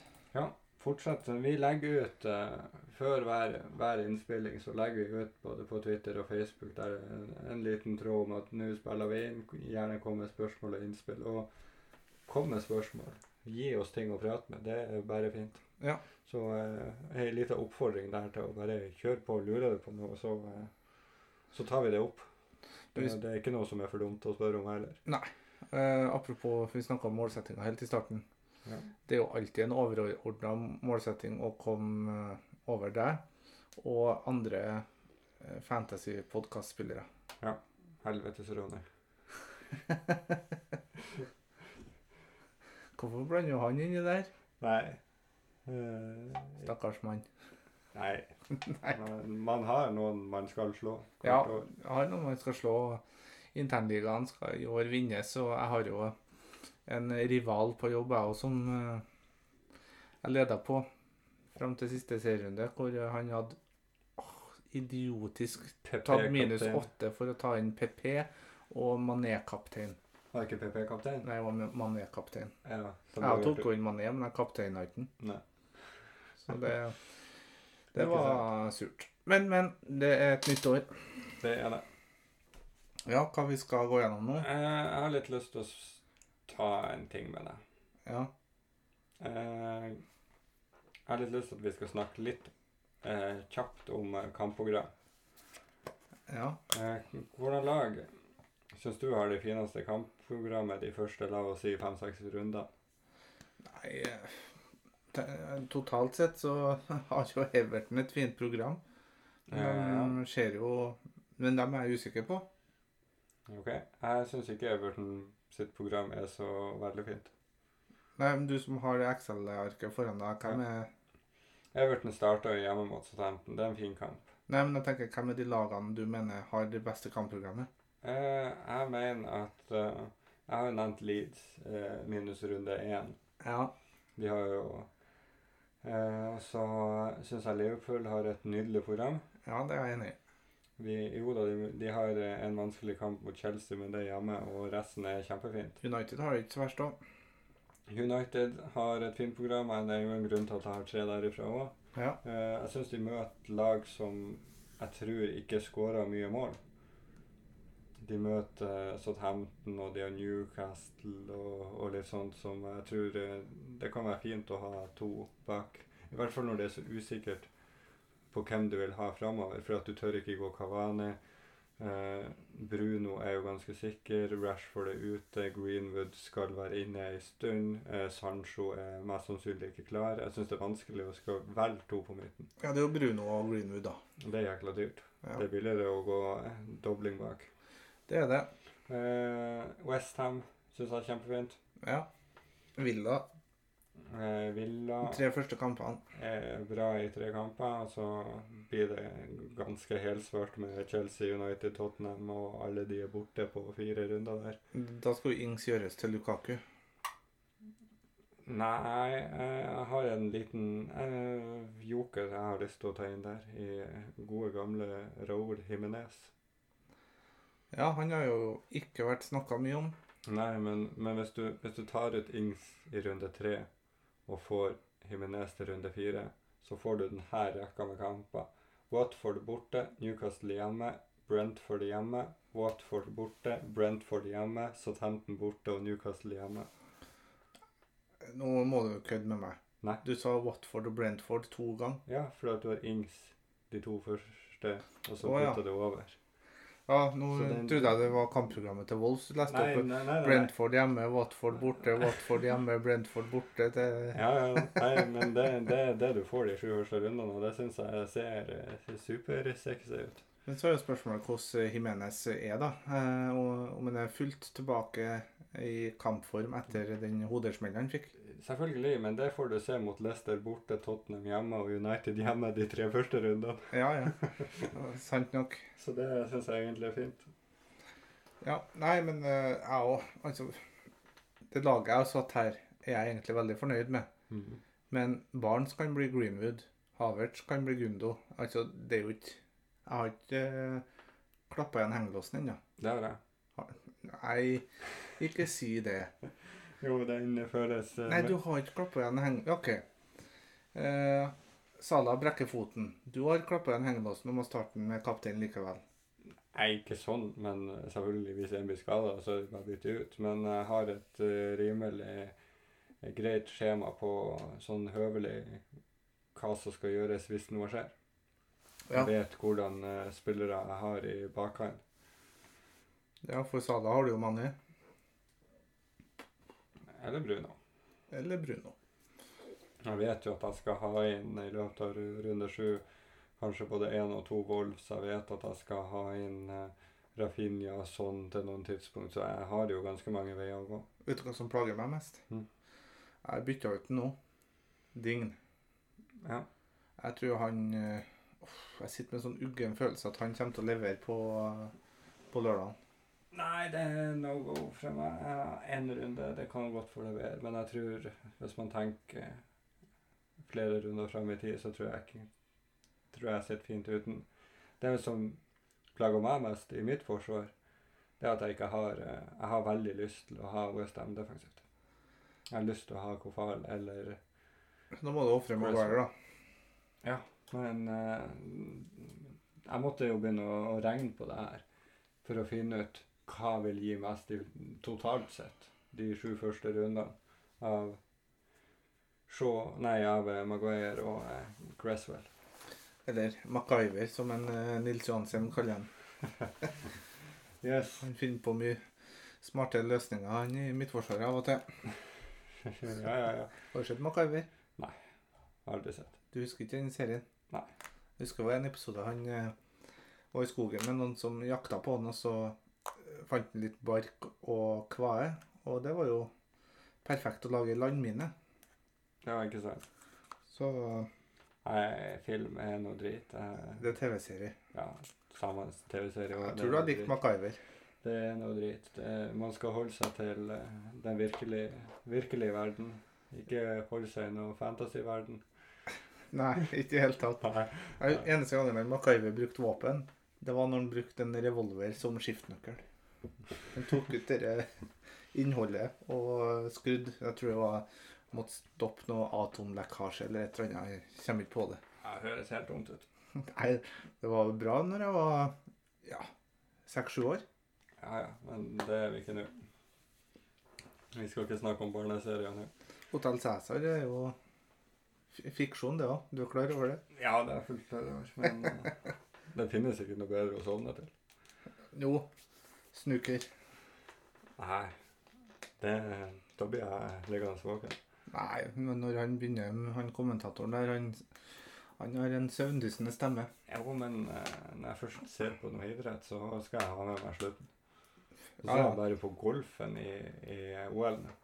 S1: Fortsett. Vi legger ut eh, før hver, hver innspilling så legger vi ut både på Twitter og Facebook der er en, en liten tråd om at nå spiller vi inn. Gjerne kom med spørsmål og innspill. Og kom med spørsmål. Gi oss ting å prate med. Det er bare fint.
S2: Ja.
S1: Så eh, ei lita oppfordring der til å bare kjøre på og lure det på noe, så, eh, så tar vi det opp. Det,
S2: Hvis-
S1: det er ikke noe som er for dumt å spørre om heller.
S2: Eh, apropos, vi snakka om målsettinga helt i starten.
S1: Ja.
S2: Det er jo alltid en overordna målsetting å komme eh, over deg og andre eh, fantasy-podkastspillere.
S1: Helvetes Ronny.
S2: Hvorfor blander jo han inn i der?
S1: Nei. Eh,
S2: Stakkars mann.
S1: Nei.
S2: Nei.
S1: Man, man har noen man skal slå. hvert
S2: Ja,
S1: år.
S2: jeg har noe man skal slå. Internligaen skal i år vinnes, og jeg har jo en rival på jobb, jeg òg, som eh, jeg leda på fram til siste serierunde, hvor eh, han hadde åh, idiotisk
S1: PP
S2: tatt minus
S1: kaptein.
S2: åtte for å ta inn PP og Mané-kaptein.
S1: Var ikke PP kaptein?
S2: Nei, jeg var med Mané-kaptein.
S1: Ja. så da
S2: Jeg
S1: vet
S2: tok jo inn Mané, men jeg kapteina ikke den.
S1: Nei.
S2: Så det,
S1: Ikke
S2: det var surt. Men, men. Det er et nytt år.
S1: du. Det er det.
S2: Ja, hva vi skal gå gjennom nå?
S1: Eh, Jeg har litt lyst til å s- ta en ting med deg.
S2: Ja.
S1: Eh, Jeg har litt lyst til at vi skal snakke litt eh, kjapt om eh, kampprogram.
S2: ja.
S1: Eh, Hvordan lag syns du har det fineste kampprogrammet de første, la oss si, fem-seks runder?
S2: Nei eh, te- Totalt sett så har jo Everton et fint program. De ser jo Men dem er jeg usikker på.
S1: Eh, Ok. Jeg syns ikke Everton sitt program er så veldig fint.
S2: Nei, men du som har det Excel-arket foran deg, hvem er
S1: Everton starta hjemme mot Southampton. Det er en fin kamp.
S2: Nei, men jeg tenker, Hvem er de lagene du mener har det beste kampprogrammet?
S1: Eh, jeg mener at eh, Jeg har jo nevnt Leeds eh, minus runde én.
S2: Ja.
S1: De har jo eh, Og så syns jeg Liverpool har et nydelig program.
S2: ja, det er jeg enig i.
S1: Vi, jo da, de, de har eh, en vanskelig kamp mot Chelsea, men det er hjemme, og resten er kjempefint.
S2: United har det ikke så verst òg.
S1: United har et fint program, og det er jo en grunn til at jeg har tre derifra òg.
S2: Ja.
S1: Eh, jeg syns de møter lag som jeg tror ikke skårer mye mål. De møter eh, Southampton og de har Newcastle og, og litt sånt som jeg tror eh, det kan være fint å ha to bak. I hvert fall når det er så usikkert på hvem du vil ha framover, for at du tør ikke gå Kavani. Eh, Bruno er jo ganske sikker. Rashford er ute. Greenwood skal være inne ei stund. Eh, Sancho er mest sannsynlig ikke klar. Jeg syns det er vanskelig å skal velge to på midten.
S2: ja, det er jo Bruno og Greenwood, da.
S1: Det er jækla dyrt.
S2: Ja.
S1: Det er billigere å gå eh, dobling bak.
S2: Det er det.
S1: Eh, Westham syns jeg er kjempefint.
S2: Ja. Villa.
S1: Eh, Villa
S2: De tre første kampene.
S1: er bra i tre kamper. og Så blir det ganske helsvart med Chelsea, United, Tottenham og alle de er borte på fire runder der.
S2: Da skal jo Ings gjøres til Lukaku.
S1: Nei, jeg har en liten eh, joker jeg har lyst til å ta inn der, i gode gamle Raúl Jiménez.
S2: Ja, han har jo ikke vært snakka mye om.
S1: Nei, men, men hvis, du, hvis du tar ut Ings i runde tre og får Jimenez til runde fire, så får du denne rekka med kamper. Watford borte, Newcastle hjemme, Brentford hjemme, Watford borte, Brentford hjemme, Southampton borte og Newcastle hjemme.
S2: Nå må du jo kødde med meg.
S1: Nei.
S2: Du sa Watford og Brentford to ganger.
S1: Ja, fordi at du har Ings de to første, og så
S2: Å, ja.
S1: putter du over.
S2: Ja, nå
S1: Så den-
S2: trodde jeg det var kampprogrammet til Wolves du leste
S1: Nei,
S2: opp.
S1: nei, nei. nei.
S2: Brentford hjemme, Watford borte, Watford hjemme, Brentford borte. Det,
S1: Ja, ja, nei, men det det er det du får de sju første rundene, og det syns jeg ser eh, supersexy ut.
S2: Men så er jo spørsmålet hvordan eh, Jimenez er, da. Eh, og Om han er fullt tilbake i kampform etter den hodesmellen han fikk.
S1: Selvfølgelig, men det får du se mot Leicester borte, Tottenham hjemme og United hjemme de tre første rundene.
S2: Ja, ja. Sant nok.
S1: Så det syns jeg egentlig er fint.
S2: Ja, nei, men eh, jeg òg. Altså, det laget jeg har satt her, er jeg egentlig veldig fornøyd med.
S1: Mm.
S2: Men Barnes kan bli Greenwood. Havertz kan bli Gundo. Altså, det er jo ikke Jeg har ikke uh, klappa igjen hengelåsen ennå.
S1: Det har jeg.
S2: Nei, ikke si det.
S1: Jo, den føles eh,
S2: Nei,
S1: men-
S2: du har ikke klappa igjen heng... OK. Eh, Salah brekker foten. Du har klappa igjen hengelåsen og må starte den med kaptein likevel.
S1: Nei, ikke sånn, men selvfølgelig hvis en blir skada, så er det bare å bytte ut. Men jeg har et eh, rimelig eh, greit skjema på sånn høvelig hva som skal gjøres hvis noe skjer.
S2: Ja.
S1: Jeg vet hvordan eh, spillere jeg har i bakhånd.
S2: Ja, for Salah har du jo mange.
S1: Eller Bruno.
S2: Eller Bruno.
S1: Jeg vet jo at jeg skal ha inn i løpet av ru- runde sju kanskje både én og to Wolves. Jeg vet at jeg skal ha inn eh, Rafinha og sånn til noen tidspunkt, så jeg har jo ganske mange veier å gå.
S2: Vet du hva som plager meg mest?
S1: Mm.
S2: Jeg bytta ut den nå. Dign.
S1: Ja.
S2: Jeg tror han eh, uff, Jeg sitter med en sånn uggen følelse at han kommer til å levere på, på lørdagen.
S1: Nei, det er no go fra meg. Én runde, det kan godt få levere. Men jeg tror, hvis man tenker flere runder fram i tid, så tror jeg ikke tror jeg sitter fint uten. Det som plager meg mest i mitt forsvar, det er at jeg ikke har eh, Jeg har veldig lyst til å ha Westham defensivt. Jeg har lyst til å ha Kofal eller
S2: Da må du ofre Maguire, da.
S1: Men eh, jeg måtte jo begynne å, å regne på det her for å finne ut hva vil gi mest i, totalt sett de sju første rundene av Shaw, nei, av eh, Maguire og eh, Cresswell.
S2: Eller MacGyver, som en eh, Nils Johansen kaller han.
S1: Yes.
S2: Han finner på mye smarte løsninger han i Midtforsvaret av og til.
S1: ja, ja, ja.
S2: Har du sett MacGyver?
S1: Aldri sett.
S2: Du husker ikke den serien?
S1: Nei.
S2: Jeg husker det var en episode han eh, var i skogen med noen som jakta på han, og så eh, fant han litt bark og kvae. Og det var jo perfekt å lage landmine.
S1: Det var ikke sant.
S2: Så eh,
S1: Nei, film er noe drit. Jeg,
S2: det er TV-serie.
S1: ja, samme TV-serie. og
S2: Jeg
S1: det
S2: tror du
S1: er
S2: har likt
S1: drit.
S2: MacGyver.
S1: Det er noe drit. Det, man skal holde seg til eh, den virkelige, virkelige verden. Ikke holde seg i noe fantasy-verden.
S2: Nei, ikke i det hele tatt.
S1: Nei.
S2: Jeg- Eneste gangen han MacGyver brukte våpen, det var når han brukte en revolver som skiftnøkkel. Han tok ut det innholdet og skrudd. Jeg tror det var måtte stoppe noe atomlekkasje eller et eller annet. Jeg kommer ikke på det.
S1: Det høres helt dumt ut.
S2: Nei, det var bra når jeg var ja, seks-sju år.
S1: Ja, ja, men det er vi ikke nå. Vi skal ikke snakke om barneserier nå.
S2: Hotell Cæsar er jo f- fiksjon, det òg. Du er klar over det?
S1: Ja, det er fullt klar over, men eh, det finnes ikke noe bedre å sovne til.
S2: Jo. Snooker.
S1: Nei. Det, eh, da blir jeg liggende våken.
S2: Nei, men når han begynner, han kommentatoren der, han, han har en søvndyssende stemme.
S1: Jo, men eh, når jeg først ser på noe idrett, så skal jeg ha med meg slutten. Og så
S2: Ja,
S1: er
S2: ja.
S1: jeg bare på golfen i, i OL. nå.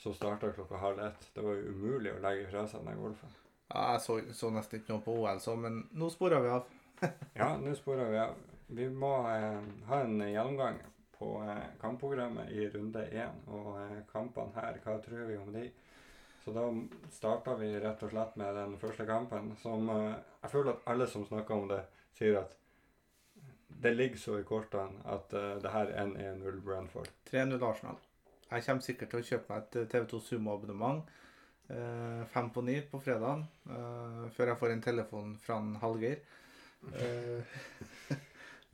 S1: Så starta klokka halv ett. Det var jo umulig å legge fra seg den golfen.
S2: Ja, jeg så, så nesten ikke noe på OL, så, men nå sporer vi av.
S1: Ja, nå sporer vi av. Vi må eh, ha en gjennomgang på eh, kampprogrammet i runde én. Og eh, kampene her, hva tror vi om de? Så da starta vi rett og slett med den første kampen, som eh, Jeg føler at alle som snakker om det, sier at det ligger så i kortene at eh, det her er en 1-0 Brentford.
S2: 3-0 Arsenal. Jeg kommer sikkert til å kjøpe meg et eh, TV2 Sumo-abonnement. eh, Fem på ni på fredagen, eh, før jeg får en telefon fra en Hallgeir. Eh,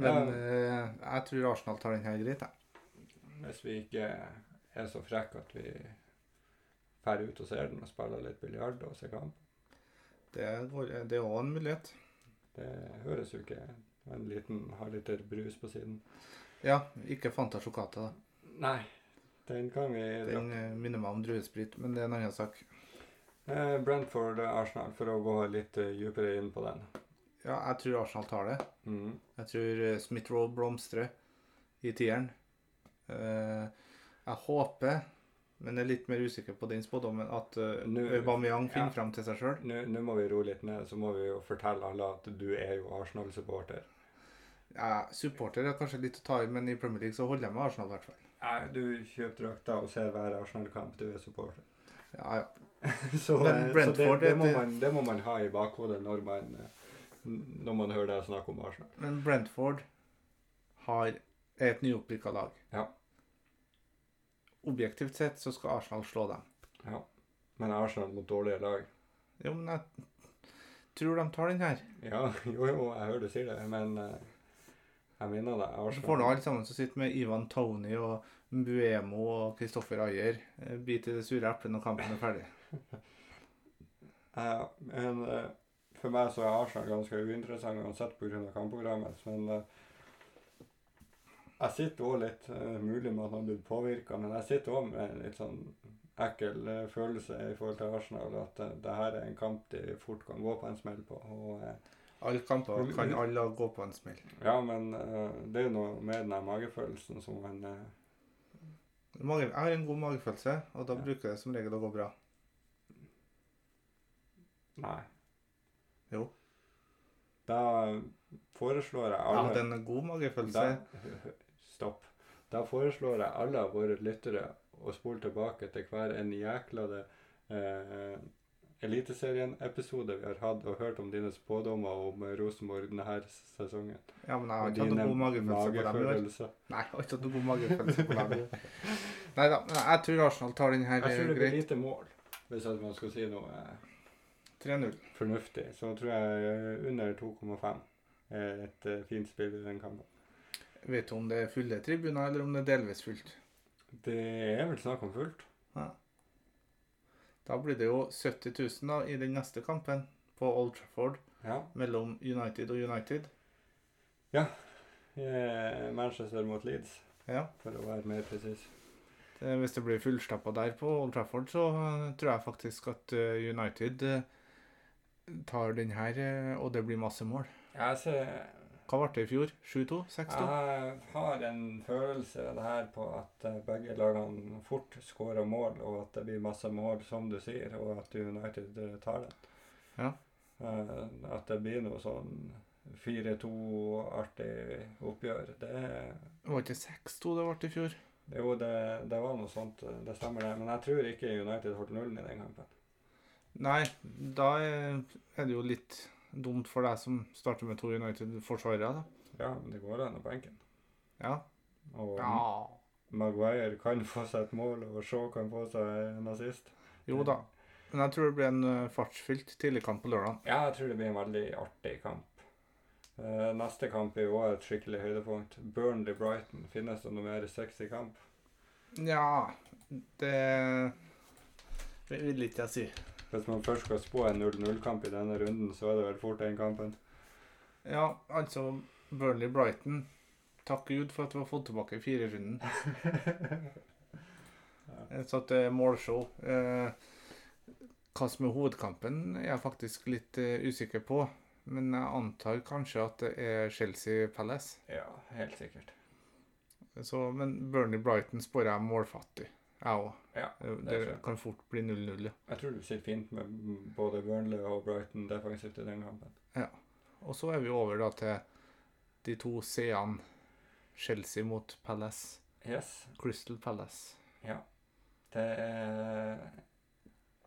S2: Men
S1: Ja.
S2: eh, jeg tror Arsenal tar den her greit, jeg.
S1: Hvis vi ikke er så frekke at vi drar ut og ser den og spiller litt biljard og ser kamp.
S2: Det, går- det er òg en mulighet.
S1: Det høres jo ikke En liten har litt brus på siden.
S2: Ja, ikke Fanta Chocata, da.
S1: Nei, den kan vi dra
S2: Den eh, minner meg om druesprit, men det er en annen sak.
S1: Eh, Brentford eh, Arsenal, for å gå litt eh, dypere inn på den.
S2: Ja, jeg tror Arsenal tar det.
S1: Mm.
S2: Jeg tror eh, Smith-Roe blomstrer i tieren. Eh, jeg håper, men er litt mer usikker på den spådommen, at eh,
S1: Nå-
S2: Aubameyang
S1: ja.
S2: finner frem til seg sjøl.
S1: Nå nå må vi roe litt ned, så må vi jo fortelle alle at du er jo Arsenal-supporter.
S2: supporter er kanskje litt å ta i, men i Premier League så holder jeg med Arsenal i hvert fall.
S1: Nei, Du kjøper drakta og ser hver Arsenal-kamp, du er supporter.
S2: Ja, ja.
S1: Så, eh, så
S2: Men
S1: det,
S2: Brentford,
S1: det, må
S2: det-
S1: man, det må man ha i bakhodet når man, eh, n- når man hører deg snakke om Arsenal.
S2: Men Brentford har er et nyopprykka lag.
S1: Ja.
S2: Objektivt sett så skal Arsenal slå dem.
S1: Men Arsenal mot dårlige lag
S2: Jo, men jeg tror de tar den her.
S1: Ja, jo, jo, jeg hører du sier det, men eh, jeg minner deg.
S2: Og så får nå alle sammen som sitter med Ivan Tony og Buemo og Kristoffer Ayer, eh, bit i det sure eplet når kampen er ferdig.
S1: Ja, men eh, for meg så er Arsenal ganske uinteressant uansett pga. kampprogrammet. Men eh, jeg sitter òg litt eh, Mulig med at han har blitt påvirka, men jeg sitter òg med en litt sånn ekkel eh, følelse i forhold til Arsenal. At uh, det her er en kamp de fort kan gå på en smell på. Og, eh,
S2: Alle kamper kan alle lag gå på en smell.
S1: ja, men eh, det er jo noe med den her magefølelsen som man eh,
S2: Mage- Jeg har en god magefølelse, og da
S1: Ja.
S2: bruker det som regel å gå bra.
S1: Nei.
S2: Jo.
S1: Da eh, foreslår jeg
S2: Ja,
S1: alle
S2: den er god magefølelse.
S1: Da, stopp. Da foreslår jeg alle av våre lyttere å spole tilbake til hver en jæklade eh, Eliteserien-episode vi har hatt, og hørt om dine spådommer om Rosenborg denne sesongen.
S2: Ja, men jeg har
S1: Og
S2: ikke hatt
S1: dine
S2: noen god magefølelse på dem i år.
S1: magefølelser.
S2: Nei, jeg har ikke hatt noen god magefølelse på dem i år. Nei da, men jeg tror Arsenal tar den her
S1: Jeg
S2: eh,
S1: tror det blir
S2: greit.
S1: lite mål, hvis at man skal si noe eh,
S2: 3-0.
S1: fornuftig. Så tror jeg eh, under 2,5 er et eh, fint spill i den kampen.
S2: Vet du om det er fulle tribuner, eller om det er delvis fullt?
S1: Det er vel snakk om fullt.
S2: Da blir det jo 70 000 da, i den neste kampen på Old Trafford
S1: Ja.
S2: mellom United og United.
S1: Eh, Manchester mot Leeds,
S2: Ja.
S1: for å være mer presis.
S2: Eh, Hvis det blir fullstappa der på Old Trafford, så eh, tror jeg faktisk at eh, United eh, tar den her, eh, og det blir masse mål.
S1: Jeg, ser,
S2: Hva ble det i fjor? 7-2? 6-2?
S1: altså, jeg har en følelse av det her på at eh, begge lagene fort skårer mål, og at det blir masse mål, som du sier, og at United eh, tar det.
S2: Ja.
S1: Eh, At det blir noe sånn 4-2-artig oppgjør. Det,
S2: Det var ikke 6-2 det ble i fjor.
S1: jo, det, det var noe sånt, eh, det stemmer det. Men jeg tror ikke United holdt nullen i den kampen.
S2: Nei, da eh, er det jo litt dumt for deg som starter med to United-forsvarere, da.
S1: Ja, men det går an på benken.
S2: Ja.
S1: Og Maguire kan få seg et mål, og Shaw kan få seg en assist.
S2: Jo da. Men jeg tror det blir en eh, fartsfylt tidligkamp på lørdag.
S1: Ja, jeg tror det blir en veldig artig kamp. Eh, neste kamp er jo også et skikkelig høydepunkt. Burnley-Brighton. Finnes det noe mer sexy kamp?
S2: Nja Det Det vil ikke jeg si.
S1: Hvis man først skal spå en 0-0-kamp i denne runden, så er det vel fort den kampen.
S2: Ja, altså Burnley-Brighton Takk Gud for at vi har fått tilbake firerunden. Eh, Så at det er målshow. Eh, Hva som er hovedkampen, er jeg faktisk litt eh, usikker på. Men jeg antar kanskje at det er Chelsea Palace.
S1: Ja, helt sikkert.
S2: Så, men Burnley-Brighton spår jeg målfattig, jeg òg.
S1: Ja,
S2: det,
S1: det tror jeg.
S2: kan fort bli 0-0. ja.
S1: Jeg tror du sitter fint med både Burnley og Brighton defensivt i den kampen.
S2: Og så er vi over da til de to seerne. Chelsea mot Palace.
S1: Yes,
S2: Crystal Palace.
S1: det er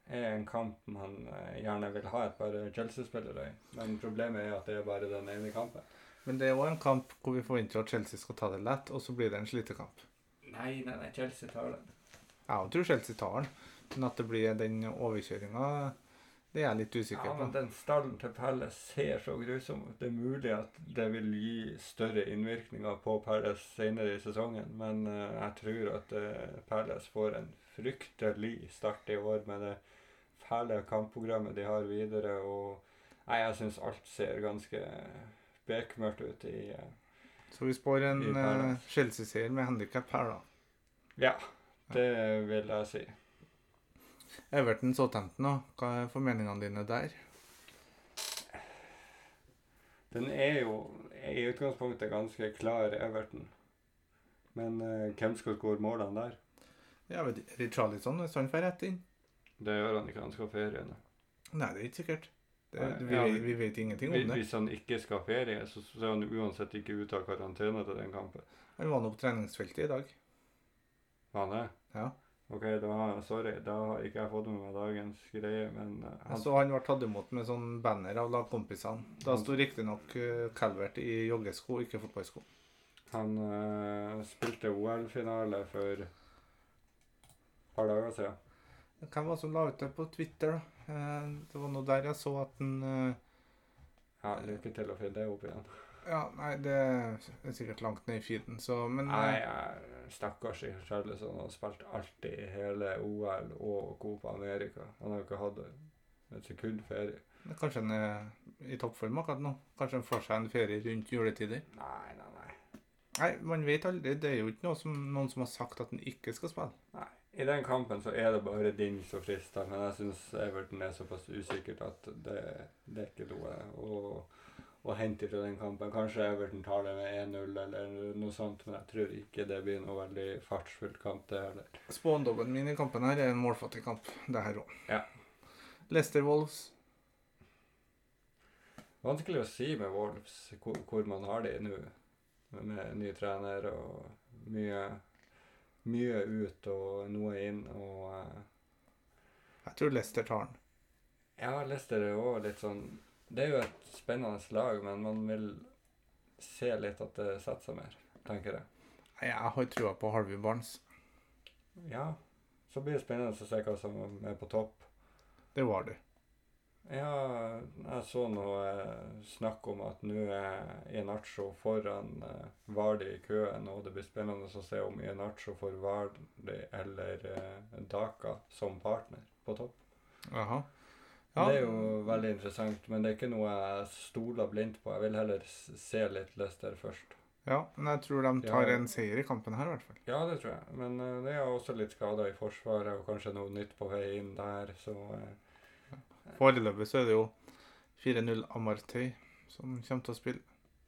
S1: er en kamp man eh, gjerne vil ha et par Chelsea-spillere i. Men problemet er at det er bare den ene kampen.
S2: Men det er òg en kamp hvor vi forventer at Chelsea skal ta det lett, og så blir det en slitekamp.
S1: Nei, nei, nei, Chelsea tar den.
S2: Jeg tror Chelsea tar den, men at det blir den overkjøringa, det er jeg litt usikker
S1: Ja, men
S2: på.
S1: den stallen til Palace ser så grusom ut. Det er mulig at det vil gi større innvirkninger på Palace senere i sesongen, men eh, jeg tror at eh, Palace får en fryktelig start i år med det fæle kampprogrammet de har videre. og Nei, jeg syns alt ser ganske bekmørkt ut i eh,
S2: Så vi spår en
S1: I Palace.
S2: eh, Chelsea-seier med handikap her, da.
S1: Ja, det vil jeg si.
S2: Everton Southampton, da. hva er formeningene dine der?
S1: Den er jo i utgangspunktet ganske klar, Everton. Men eh, hvem skal skåre målene der?
S2: Ja, vet du, Richarlison, hvis han får rett inn?
S1: Det gjør han ikke, han skal ha ferie nå.
S2: Nei, det er ikke sikkert. Det,
S1: Nei,
S2: vi,
S1: ja,
S2: vet- vi vet ingenting om det.
S1: Hvis han ikke skal ha ferie, så så er han uansett ikke ute av karantene til den kampen.
S2: Han var nå på treningsfeltet i dag.
S1: Han er.
S2: Ja.
S1: Ok, da, har- sorry, da har ikke jeg fått med meg dagens greie, men eh,
S2: Jeg
S1: han,
S2: så Altså, han var tatt imot med sånn banner av lagkompisene. Da
S1: Han-
S2: sto riktignok eh, Calvert i joggesko, ikke fotballsko.
S1: han eh, spilte OL-finale for et par dager siden.
S2: Hvem var det som la ut det på Twitter, da? Eh, Det var nå der jeg så at han eh,
S1: Ja, lykke til å finne det opp igjen.
S2: Ja, nei, det er sikkert langt ned i feeden, så Men
S1: Nei,
S2: eh,
S1: jeg- stakkars i Charleston har spilt alltid hele OL og Copa America. Han har jo ikke hatt et sekund ferie.
S2: kanskje han er i toppform akkurat nå? Kanskje han får seg en ferie rundt juletider?
S1: Nei, nei, nei.
S2: Nei, man vet aldri. Det er jo ikke noe som, noen som har sagt at han ikke skal spille.
S1: nei. I den kampen så er det bare din som frister, men jeg syns Everton er såpass usikkert at det, det er ikke noe å, å hente fra den kampen. Kanskje Everton tar det med 1-0 eller noe sånt, men jeg tror ikke det blir noe veldig fartsfull kamp, det heller.
S2: Spådommen min i kampen her er en målfattig kamp, det her òg.
S1: Ja.
S2: Leicester Wolves.
S1: Vanskelig å si med Wolves hvor, hvor man har de nå. Med ny trener og mye, mye ut og noe inn. Og eh,
S2: Jeg tror Leicester tar den.
S1: ja, Leicester er jo litt sånn Det er jo et spennende lag, men man vil se litt at det setter seg mer, tenker jeg.
S2: Nei, Jeg har trua på Harvey Barnes.
S1: Ja. Så blir det spennende å se hva som er på topp.
S2: Det var det.
S1: Ja, jeg så noe eh, snakk om at nå er Inacho foran eh, Vardy i køen, og det blir spennende å se om Inacho får Vardy eller eh, Daka som partner på topp.
S2: Jaha.
S1: Det er jo veldig interessant, men det er ikke noe jeg stoler blindt på. Jeg vil heller s- se litt Leicester først.
S2: Ja, men jeg tror de tar
S1: Ja.
S2: en seier i kampen her, i hvert fall.
S1: Ja, det tror jeg, men eh, det er også litt skader i forsvaret, og kanskje noe nytt på vei inn der, så eh,
S2: Foreløpig så er det jo 4-0 Amartey som kommer til å spille.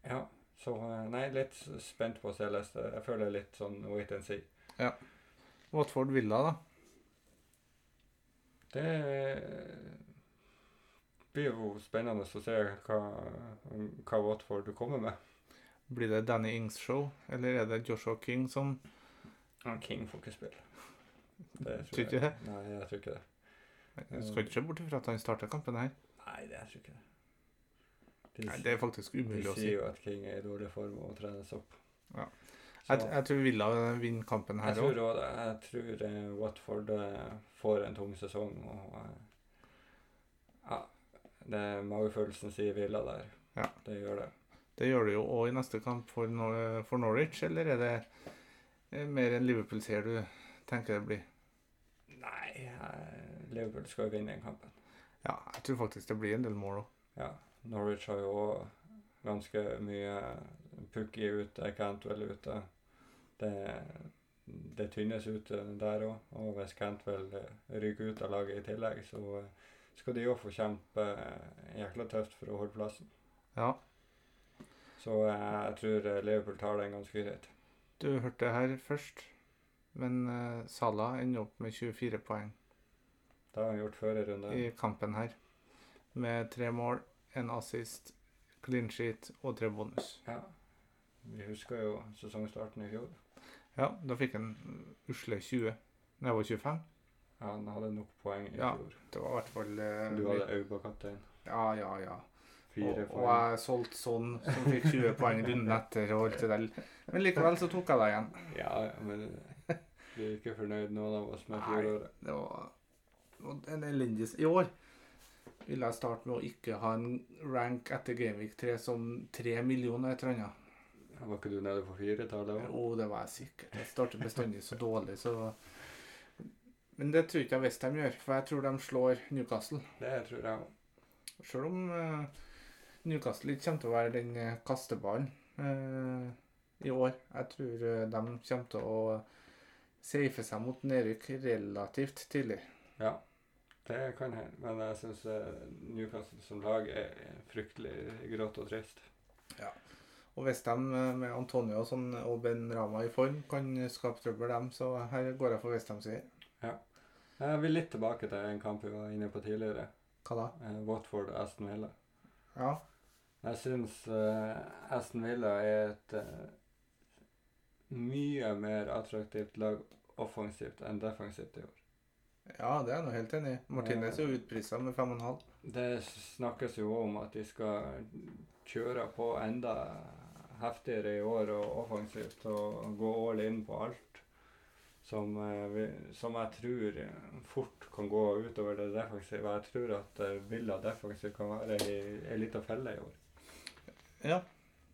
S1: Ja, så eh, nei, litt s- spent på å se Leicester. Jeg føler litt sånn wait and see.
S2: Watford Villa, da.
S1: Det blir jo spennende å se hva, hva Watford kommer med.
S2: Blir det Danny Ings show, eller er det Joshua King som
S1: Han King får ikke spille.
S2: Tror ikke det?
S1: Nei, jeg tror ikke det.
S2: Jeg skal ikke se bort ifra at han starter kampen her.
S1: Nei, det jeg tror ikke det. De,
S2: Nei, Det er faktisk
S1: de
S2: umulig å si.
S1: sier jo at King er i dårlig form og trenes opp.
S2: Ja.
S1: Så,
S2: Jeg, jeg tror Villa vinner kampen
S1: jeg
S2: her òg.
S1: tror også det. Jeg tror eh, Watford eh, får en tung sesong og eh, Ja. Det magefølelsen sier Villa der.
S2: Ja.
S1: Det gjør det.
S2: Det gjør du jo òg i neste kamp for, Nor for Norwich, eller er det eh, mer en Liverpool-seier du tenker det blir?
S1: Nei, eh, Liverpool skal jo vinne den kampen.
S2: Ja, jeg tror faktisk det blir en del mål òg.
S1: Ja, Norwich har jo også ganske mye Pukki ute, Cantwell ute. Det, det tynnes ut eh, der òg. Og hvis Cantwell eh, ryker ut av laget i tillegg, så eh, skal de òg få kjempe eh, jækla tøft for å holde plassen.
S2: Ja,
S1: Så eh, jeg tror eh, Liverpool tar den ganske greit.
S2: du hørte det her først, men eh, Salah ender opp med 24 poeng
S1: Det har han gjort før i runden.
S2: i kampen her. Med tre mål, en assist, clean sheet og tre bonus.
S1: Ja. Vi husker jo sesongstarten i fjor.
S2: Ja, da fikk han usle 20. Nei, det var 25.
S1: Han hadde nok poeng i
S2: Ja.
S1: fjor.
S2: Det var i hvert fall eh,
S1: Du hadde Auba kaptein.
S2: Ja, ja, ja. Og,
S1: Fire
S2: og
S1: poeng.
S2: jeg solgte sånn, som fikk 20 poeng runden etter og alt det der. Men likevel så tok jeg deg igjen.
S1: Ja, ja, men vi er ikke fornøyd noen av oss med
S2: Nei.
S1: fjoråret.
S2: Det var og en elendig I år vil jeg starte med å ikke ha en rank etter Gameweek 3 som 3 millioner et eller annet.
S1: Var ikke du nede på firetallet òg?
S2: Jo, det var jeg sikkert. Jeg starter bestandig så dårlig, så Men det tror ikke jeg Westham gjør, for jeg tror de slår Newcastle.
S1: Det tror jeg òg.
S2: Selv om eh, Newcastle ikke kommer til å være den eh, kasteballen eh, i år. Jeg tror eh, de kommer til å safe seg mot nedrykk relativt tidlig.
S1: Ja. Det kan hende. Men jeg syns Newcastle som lag er fryktelig grått og trist.
S2: Og hvis de eh, med Antonio og, sånn, og Ben Rama i form kan skape trøbbel, dem, så her går jeg for hvis de sier
S1: Jeg vil litt tilbake til en kamp vi var inne på tidligere.
S2: hva da?
S1: Eh, Watford og Aston Villa.
S2: Ja,
S1: Jeg syns eh, Aston Villa er et eh, mye mer attraktivt lag offensivt enn defensivt i år.
S2: ja det er jeg nå helt enig i. Martinez er jo utprisa med 5,5.
S1: Det snakkes jo om at de skal kjøre på enda heftigere i år og offensivt og gå all in på alt. Som, eh, vi- som jeg tror fort kan gå utover det defensive. Jeg tror at eh, Villa defensivt kan være i ei lita felle i år.
S2: Ja,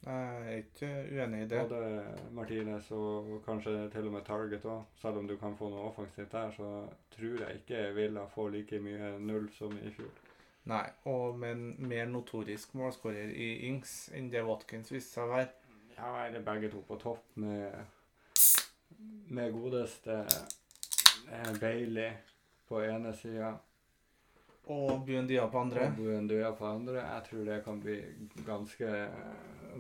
S2: jeg er ikke uenig i det.
S1: Både Martinez og kanskje til og med Target òg. Selv om du kan få noe offensivt der, så tror jeg ikke Villa får like mye null som i fjor.
S2: Nei, og med en mer notorisk målskårer i Ings enn det Watkins viste seg å være.
S1: Ja, er det begge to på topp med, med godeste eh, Bailey på ene sida
S2: Og Buendia på andre.
S1: og Buendia på andre. Jeg tror det kan bli ganske,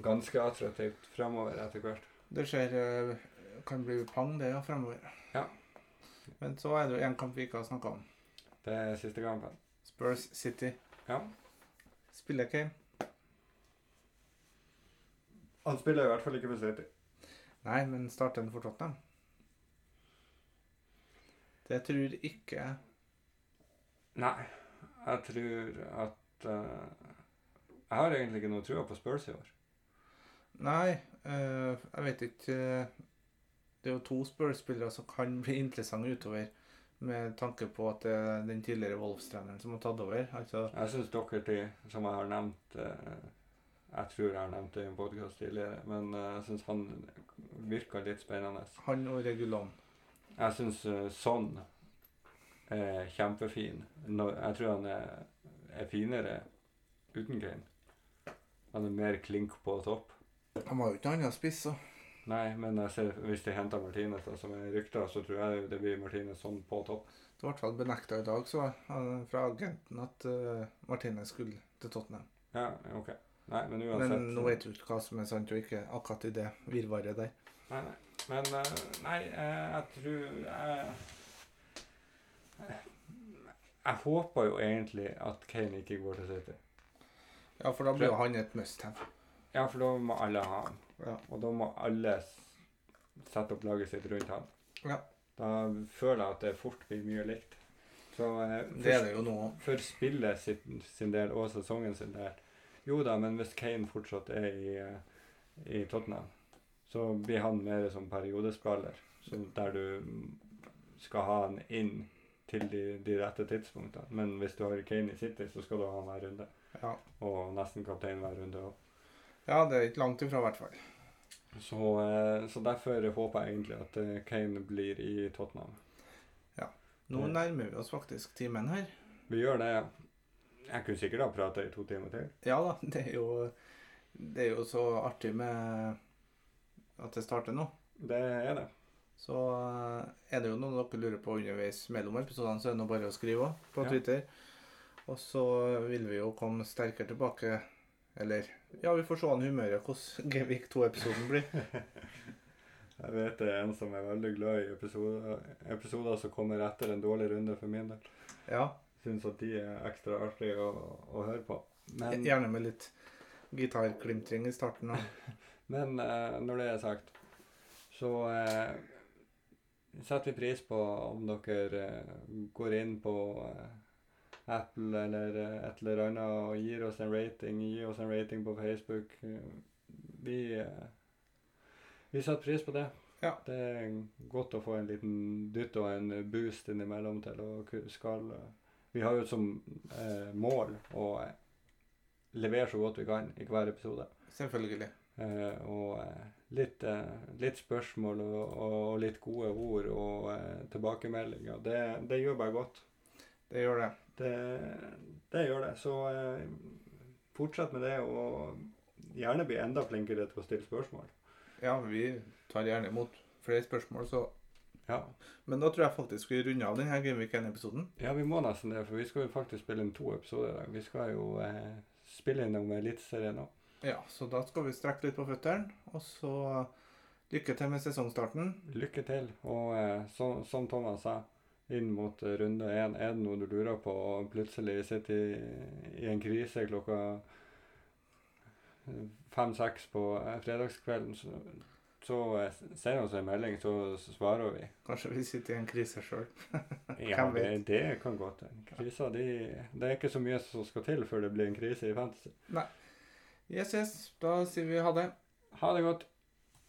S1: ganske attraktivt fremover etter hvert.
S2: Det skjer eh, kan bli pang, det, ja, fremover.
S1: Ja.
S2: Men så er det jo én kamp vi ikke har snakka om.
S1: Det er siste kampen.
S2: Spurs City.
S1: Ja.
S2: Spiller Kane?
S1: Han spiller i hvert fall ikke for City.
S2: Nei, men starter den for Tottenham? Det tror ikke jeg.
S1: Nei, jeg tror at eh, Jeg har egentlig ikke noe trua på Spurs i år.
S2: Nei, eh, jeg vet ikke eh, Det er jo to Spurs-spillere som kan bli interessante utover, med tanke på at det er den tidligere Wolfs-treneren som har tatt over. Altså,
S1: Jeg syns Dockerty, som jeg har nevnt eh, Jeg tror jeg har nevnt det i en podkast tidligere, men eh, jeg syns han virker litt spennende.
S2: han og Regulon.
S1: Jeg syns Son er kjempefin. Nå- Jeg tror han er, er finere uten Kane. Han er mer klink på topp.
S2: Han var jo ikke noen annen spiss, så.
S1: Nei, men jeg ser, hvis de henter Martinez, da, som er rykta, så tror jeg det blir Martinez sånn på topp.
S2: Det ble i hvert fall benekta i dag, så jeg, han- fra agenten, at eh, Martinez skulle til Tottenham.
S1: Ja, ok. Nei, men uansett.
S2: Men nå vet du ikke hva som er sant og ikke, akkurat i det virvaret der.
S1: Nei, nei. Men eh, nei, eh, jeg tror jeg, jeg håper jo egentlig at Kane ikke går til City.
S2: Ja, for da blir jo han et must-have.
S1: Ja, for da må alle ha han.
S2: Ja.
S1: Og da må alle s- sette opp laget sitt rundt han.
S2: Ja.
S1: Da føler jeg at det fort blir mye likt. Så eh,
S2: Det er
S1: for,
S2: det jo nå.
S1: for spillet sin, sin del og sesongen sin del Jo da, men hvis Kane fortsatt er i, eh, i Tottenham, så blir han mer som periodespiller. Så der du mm, skal ha han inn til de, de rette tidspunktene. Men hvis du har Kane i City, så skal du ha han hver runde.
S2: Ja.
S1: Og nesten kaptein hver runde òg.
S2: ja, det er ikke langt ifra, i hvert fall.
S1: Så, eh, så derfor håper jeg egentlig at eh, Kane blir i Tottenham.
S2: Nå
S1: Det-
S2: nærmer vi oss faktisk timen her.
S1: Vi gjør det. Jeg kunne sikkert ha prata i to timer til.
S2: Ja da, det er jo, det er jo så artig med at det starter nå.
S1: Det er det.
S2: Så eh, er det jo noe dere lurer på underveis mellom episodene, så er det nå bare å skrive også på
S1: Ja.
S2: Twitter. Og så vil vi jo komme sterkere tilbake. Eller Ja, vi får se an humøret hvordan Gevik 2-episoden blir.
S1: Jeg vet det er en som er veldig glad i episoder, episoder som kommer etter en dårlig runde for min del.
S2: Ja,
S1: Syns at de er ekstra artige å, å høre på. Men,
S2: Gjerne med litt gitarklimtring i starten. Og.
S1: men eh, når det er sagt, så eh, setter vi pris på om dere eh, går inn på eh, Apple eller eh, et eller annet og gir oss en rating. Gi oss en rating på Facebook. Eh, Vi, eh, vi setter pris på det.
S2: Ja.
S1: Det er godt å få en liten dytt og en boost innimellom til å ku- skal eh, Vi har jo som eh, mål å eh, levere så godt vi kan i hver episode.
S2: Selvfølgelig.
S1: Eh, og eh, litt, eh, litt spørsmål og, og, og litt gode ord og eh, tilbakemeldinger. Det, det gjør bare godt.
S2: Det gjør det.
S1: Det, det gjør det. Så eh, fortsett med det, og gjerne bli enda flinkere til å stille spørsmål.
S2: Ja, vi tar gjerne imot flere spørsmål, så
S1: Ja,
S2: Men da tror jeg faktisk vi runder av denne Gameweek 1-episoden.
S1: ja vi må nesten det, for vi skal jo faktisk spille inn to episoder i dag. Vi skal jo eh, spille innom Eliteserien nå.
S2: Ja, så da skal vi strekke litt på føttene, og så lykke til med sesongstarten.
S1: Lykke til. Og eh, som, som Thomas sa, inn mot eh, runde én, er det noe du lurer på og plutselig sitter i, i en krise klokka fem-seks på eh, fredagskvelden, så, så eh, send oss en melding, så svarer vi.
S2: Kanskje vi sitter i en krise sjøl.
S1: Ja,
S2: Hvem
S1: det,
S2: vet?
S1: det kan godt hende. Kriser, de, det er ikke så mye som skal til før det blir en krise i fantasy.
S2: Yes, yes. Da sier vi ha det.
S1: Ha det godt.